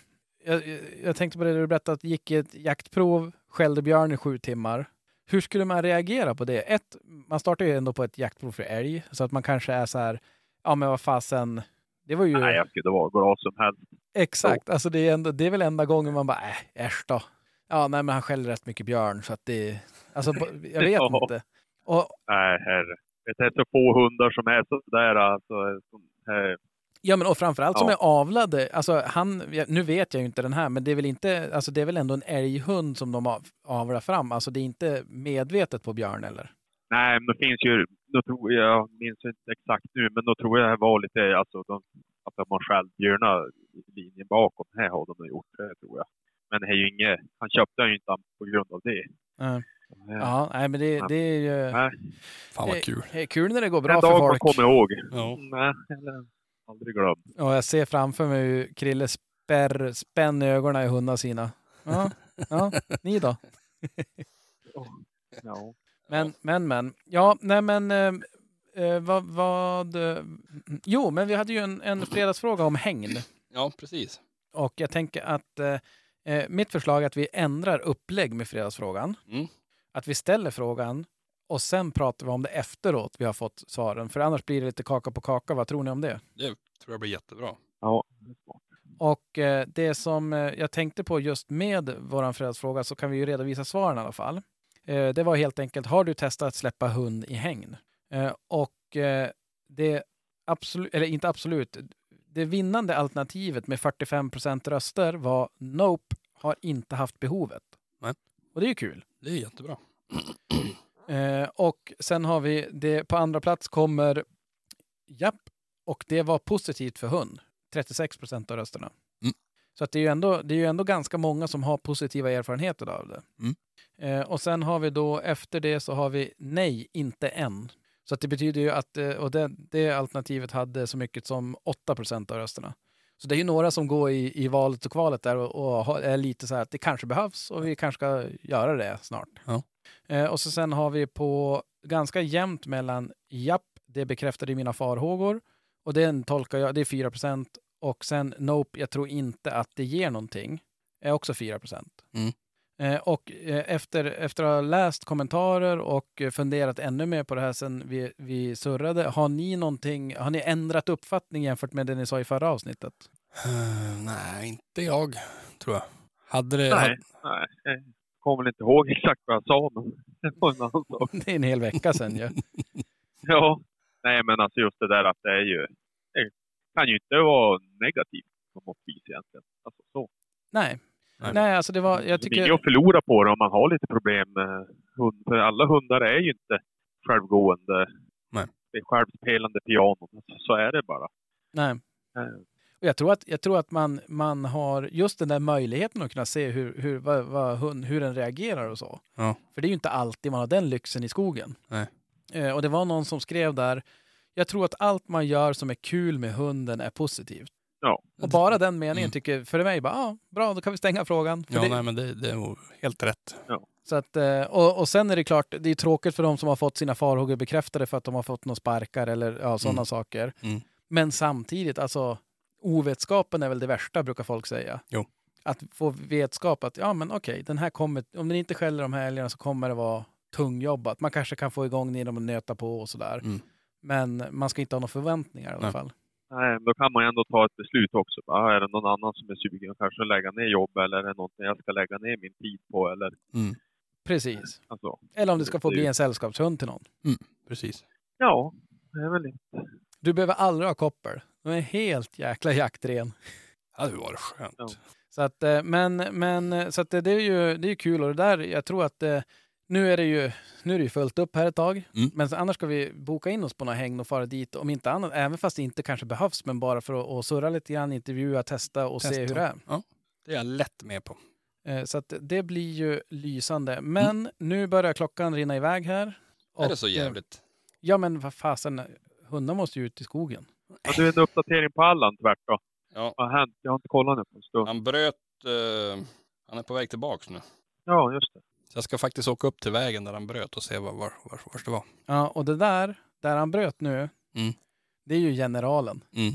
jag, jag- jag tänkte på det du berättade, att gick i ett jaktprov, skällde björn i sju timmar. Hur skulle man reagera på det? Ett, man startar ju ändå på ett jaktprov för älg, så att man kanske är så här, ja men vad fasen, Det var ju Nej, jag skulle vara glad som helst. exakt, alltså det är, ändå, det är väl enda gången man bara, äh, äsch då. Ja, nej, men han skäller rätt mycket björn så att det, alltså bo- jag vet Ja. inte. Och, Nej, herre. Det är så få hundar som är sådär alltså. Som, eh, ja, men och framförallt som Ja. är avlade, alltså han, nu vet jag ju inte den här, men det är väl inte, alltså det är väl ändå en älghund som de av, avlar fram, alltså det är inte medvetet på björn eller? nej, men det finns ju, då tror jag, jag minns inte exakt nu, men då tror jag det var lite, alltså de, att de har självbjörna linjen bakom. Här har de nog gjort det, tror jag. Men det är ju inget, han köpte den ju inte på grund av det. Ja. Eh, Ja, nej, men det, det är ju Nej, Fan vad kul. det är kul när det går en bra dag för man folk. kommer ihåg. Ja. Nej, eller, aldrig glömt. Och jag ser framför mig hur Krille spärr, spänn ögonen i hundarna sina. Ja, ja, ni då? Ja. Men, men, men. Ja, nej men. eh, Eh, vad, vad... eh, Jo, men vi hade ju en, en fredagsfråga om hängd. Ja, precis. Och jag tänker att eh, eh, mitt förslag är att vi ändrar upplägg med fredagsfrågan. Mm. Att vi ställer frågan och sen pratar vi om det efteråt vi har fått svaren. För annars blir det lite kaka på kaka. Vad tror ni om det? Tror jag blir jättebra. ja. det är smart. Och eh, det som eh, jag tänkte på just med vår fredagsfråga så kan vi ju redovisa svaren i alla fall. Eh, det var helt enkelt, har du testat att släppa hund i hägn? Eh, och eh, det absolut, eller inte absolut, det vinnande alternativet med 45 procent röster var Nope har inte haft behovet. Nej. Och det är ju kul. Det är jättebra. Eh, och sen har vi det på andra plats kommer Japp. Och det var positivt för hund. 36 procent av rösterna. Mm. Så att det, är ju ändå, det är ju ändå ganska många som har positiva erfarenheter av det. Mm. Eh, och sen har vi då efter det så har vi nej, inte än. Så att det betyder ju att eh, och det, det alternativet hade så mycket som 8 procent av rösterna. Så det är ju några som går i, i valet och kvalet där och, och har- är lite så här att det kanske behövs och vi kanske ska göra det snart. Ja. Eh, och så sen har vi på ganska jämnt mellan japp, det bekräftade mina farhågor och den tolkar jag, det är 4 procent och sen nope, jag tror inte att det ger någonting, är också 4 procent. Mm. Eh, och eh, efter, efter att ha läst kommentarer och eh, funderat ännu mer på det här sen vi, vi surrade, har ni någonting, har ni ändrat uppfattning jämfört med det ni sa i förra avsnittet? Eh, nej, inte jag, tror jag. Hade det... Nej, nej. Jag kommer väl inte ihåg exakt vad jag sa, men det var en annan sak. Det är en hel vecka sen ju. Ja. Nej, men alltså just det där att det är ju... Det kan ju inte vara negativt på något vis egentligen. Alltså så. Nej. Nej. Nej, alltså det var, jag Det är tycker... ju att förlora på det om man har lite problem med hund. För alla hundar är ju inte självgående. Nej. Det är självspelande pianon. Alltså, så är det bara. Nej. Eh, Och jag tror att, jag tror att man, man har just den där möjligheten att kunna se hur, hur, vad, vad hund, hur den reagerar och så. Ja. För det är ju inte alltid man har den lyxen i skogen. Nej. Eh, och det var någon som skrev där, jag tror att allt man gör som är kul med hunden är positivt. Ja. Och bara den meningen Mm. tycker för mig bara, ja, bra, då kan vi stänga frågan. För Ja, det, nej, men det, det är nog helt rätt. Så att, eh, och, och sen är det klart, det är tråkigt för de som har fått sina farhågor bekräftade för att de har fått några sparkar eller ja, sådana Mm. saker. Mm. Men samtidigt, alltså ovetskapen är väl det värsta brukar folk säga. Jo. Att få vetskap att ja men okej, den här kommer, om den inte skäller de här älgarna så kommer det vara tungjobbat. Man kanske kan få igång den genom att nöta på och sådär. Mm. Men man ska inte ha några förväntningar i alla Nej. fall. Nej, men då kan man ju ändå ta ett beslut också. Bara, är det någon annan som är sugen kanske att lägga ner jobb eller är det någonting jag ska lägga ner min tid på eller Precis. alltså. Eller om det ska få Det är ju- bli en sällskapshund till någon. Precis. Ja, det är väl det. Du behöver aldrig ha koppel. De är helt jäkla jaktren. Det hade ju varit skönt. Ja. Så att, eh, men, men eh, så att det, det är ju det är ju kul och det där, jag tror att eh, nu är det ju nu är det ju fullt upp här ett tag. Mm. Men så annars ska vi boka in oss på några häng och fara dit om inte annat, även fast det inte kanske behövs, men bara för att, att surra lite grann, intervjua, testa och se Testa. hur det är. Det är jag lätt med på. Eh, Så att det blir ju lysande. Men nu börjar klockan rinna iväg här. är Och, det så eh, jävligt? Ja, men vad fasen, hundar måste ju ut i skogen. Ja, du, en uppdatering på Allan tvärt då. Ja. Vad har hänt? Jag har inte kollat nu på en stund. Han bröt... eh, han är på väg tillbaks nu. Ja, just det. Så jag ska faktiskt åka upp till vägen där han bröt och se var, var, var, vars det var. Ja, och det där, där han bröt nu, Mm. det är ju generalen. Mm.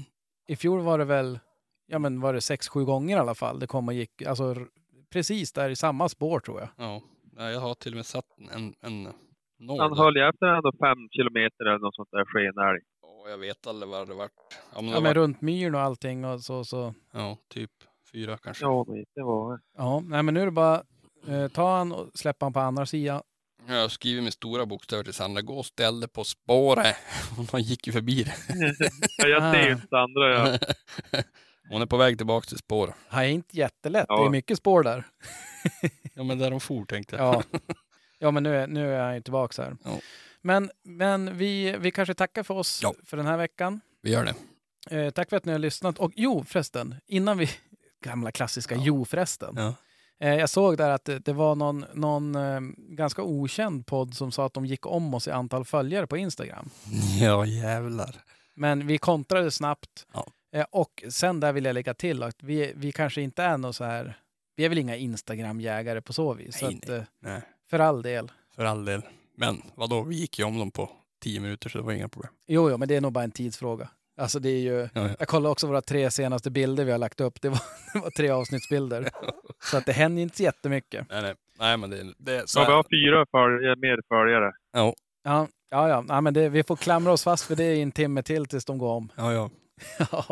I fjol var det väl, ja men var det sex, sju gånger i alla fall. Det kom och gick, alltså r- precis där i samma spår tror jag. Ja. Nej, Jag har till och med satt en, en nål. Han där. höll ju efter ändå fem kilometer eller något sånt där skenälg. Och Och jag vet aldrig vad det vart. Ja, men det Ja, men vart- runt myren och allting och så. så. ja typ fyra kanske. Ja, men det var Ja, nej, men nu är det bara eh, ta han och släppa han på andra sidan. Ja, Jag skriver med stora bokstäver till Sandra. Gå och ställ dig på spåret. Hon gick ju förbi det. ja, Jag ser ju inte andra. Ah. Jag, Hon är på väg tillbaka till spåret. Det är inte jättelätt. Det är Ja. mycket spår där. Ja, men där de for tänkte jag. Ja, ja men nu är, nu är han ju tillbaka här. Ja. Men, men vi, vi kanske tackar för oss Ja. för den här veckan. Vi gör det. Eh, tack för att ni har lyssnat. Och jo, förresten, innan vi... Gamla klassiska jo förresten. Ja. Eh, jag såg där att det, det var någon, någon eh, ganska okänd podd som sa att de gick om oss i antal följare på Instagram. Ja, jävlar. Men vi kontrade snabbt. Ja. Eh, och sen där vill jag lägga till att vi, vi kanske inte är någon så här... Vi är väl inga Instagram-jägare på så vis. Nej, så att, eh, Nej, För all del. för all del. Men vadå, vi gick ju om dem på tio minuter så det var inga problem. Jo, jo, men det är nog bara en tidsfråga. Alltså det är ju, Ja, ja. jag kollade också våra tre senaste bilder vi har lagt upp. Det var, det var tre avsnittsbilder. Så att det händer inte så jättemycket. Nej, nej. nej men det, det så ja, vi är har fyra följare, mer följare. Ja, ja, ja. ja men det, vi får klamra oss fast för det i en timme till tills de går om. Ja, ja. Ja,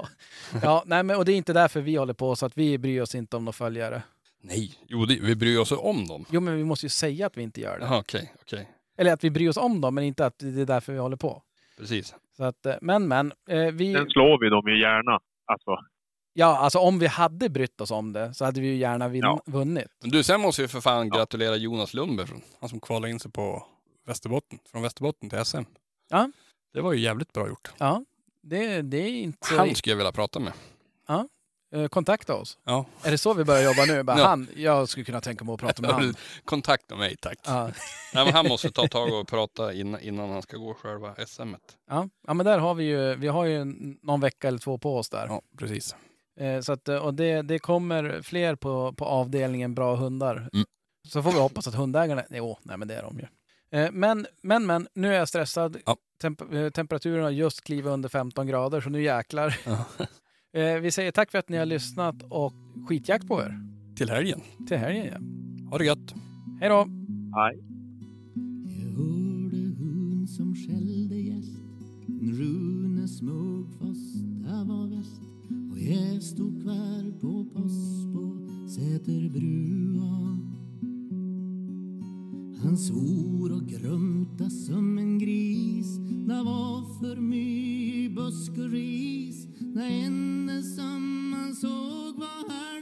ja nej, men, och det är inte därför vi håller på så att vi bryr oss inte om några följare. Nej, jo, det, vi bryr oss om dem. Jo, men vi måste ju säga att vi inte gör det. Jaha, okej, okej. Eller att vi bryr oss om dem, men inte att det är därför vi håller på. Precis. Så att, eh, men, men. eh, Vi, Sen slår vi dem ju gärna. Alltså, ja, alltså om vi hade brytt oss om det så hade vi ju gärna vin, Ja. vunnit. Men du, sen måste vi för fan Ja. gratulera Jonas Lundberg, från, han som kvalade in sig på Västerbotten, från Västerbotten till SM. Ja. Det var ju jävligt bra gjort. Ja, det, det är inte så... Han skulle jag vilja prata med. Eh, kontakta oss. Ja. Är det så vi börjar jobba nu? Bara, Ja. han, jag skulle kunna tänka mig att prata med han. Kontakta mig tack. Ja. Nej, men han måste ta tag och prata innan, innan han ska gå själva SM. -et. Ja. ja, men där har vi ju, vi har ju n- någon vecka eller två på oss där. Ja, precis. Eh, så att, eh, och det, det kommer fler på, på avdelningen bra hundar. Mm. Så får vi hoppas att hundägarna, jo, nej men det är de ju. Eh, men, men, men, nu är jag stressad. Ja. Temp- eh, temperaturen har just klivit under 15 grader, så nu jäklar. Ja. Eh, vi säger tack för att ni har lyssnat och skitjakt på er. Till helgen. Till helgen ja. Ha det gött. Hej då! nej. Jag hörde hon som skällde gäst En Rune Smugfors, där var väst Och jag stod kvar på post på Säterbrua Han svor och grumta som en gris Det var för mycket busk och ris Det enda som man såg var här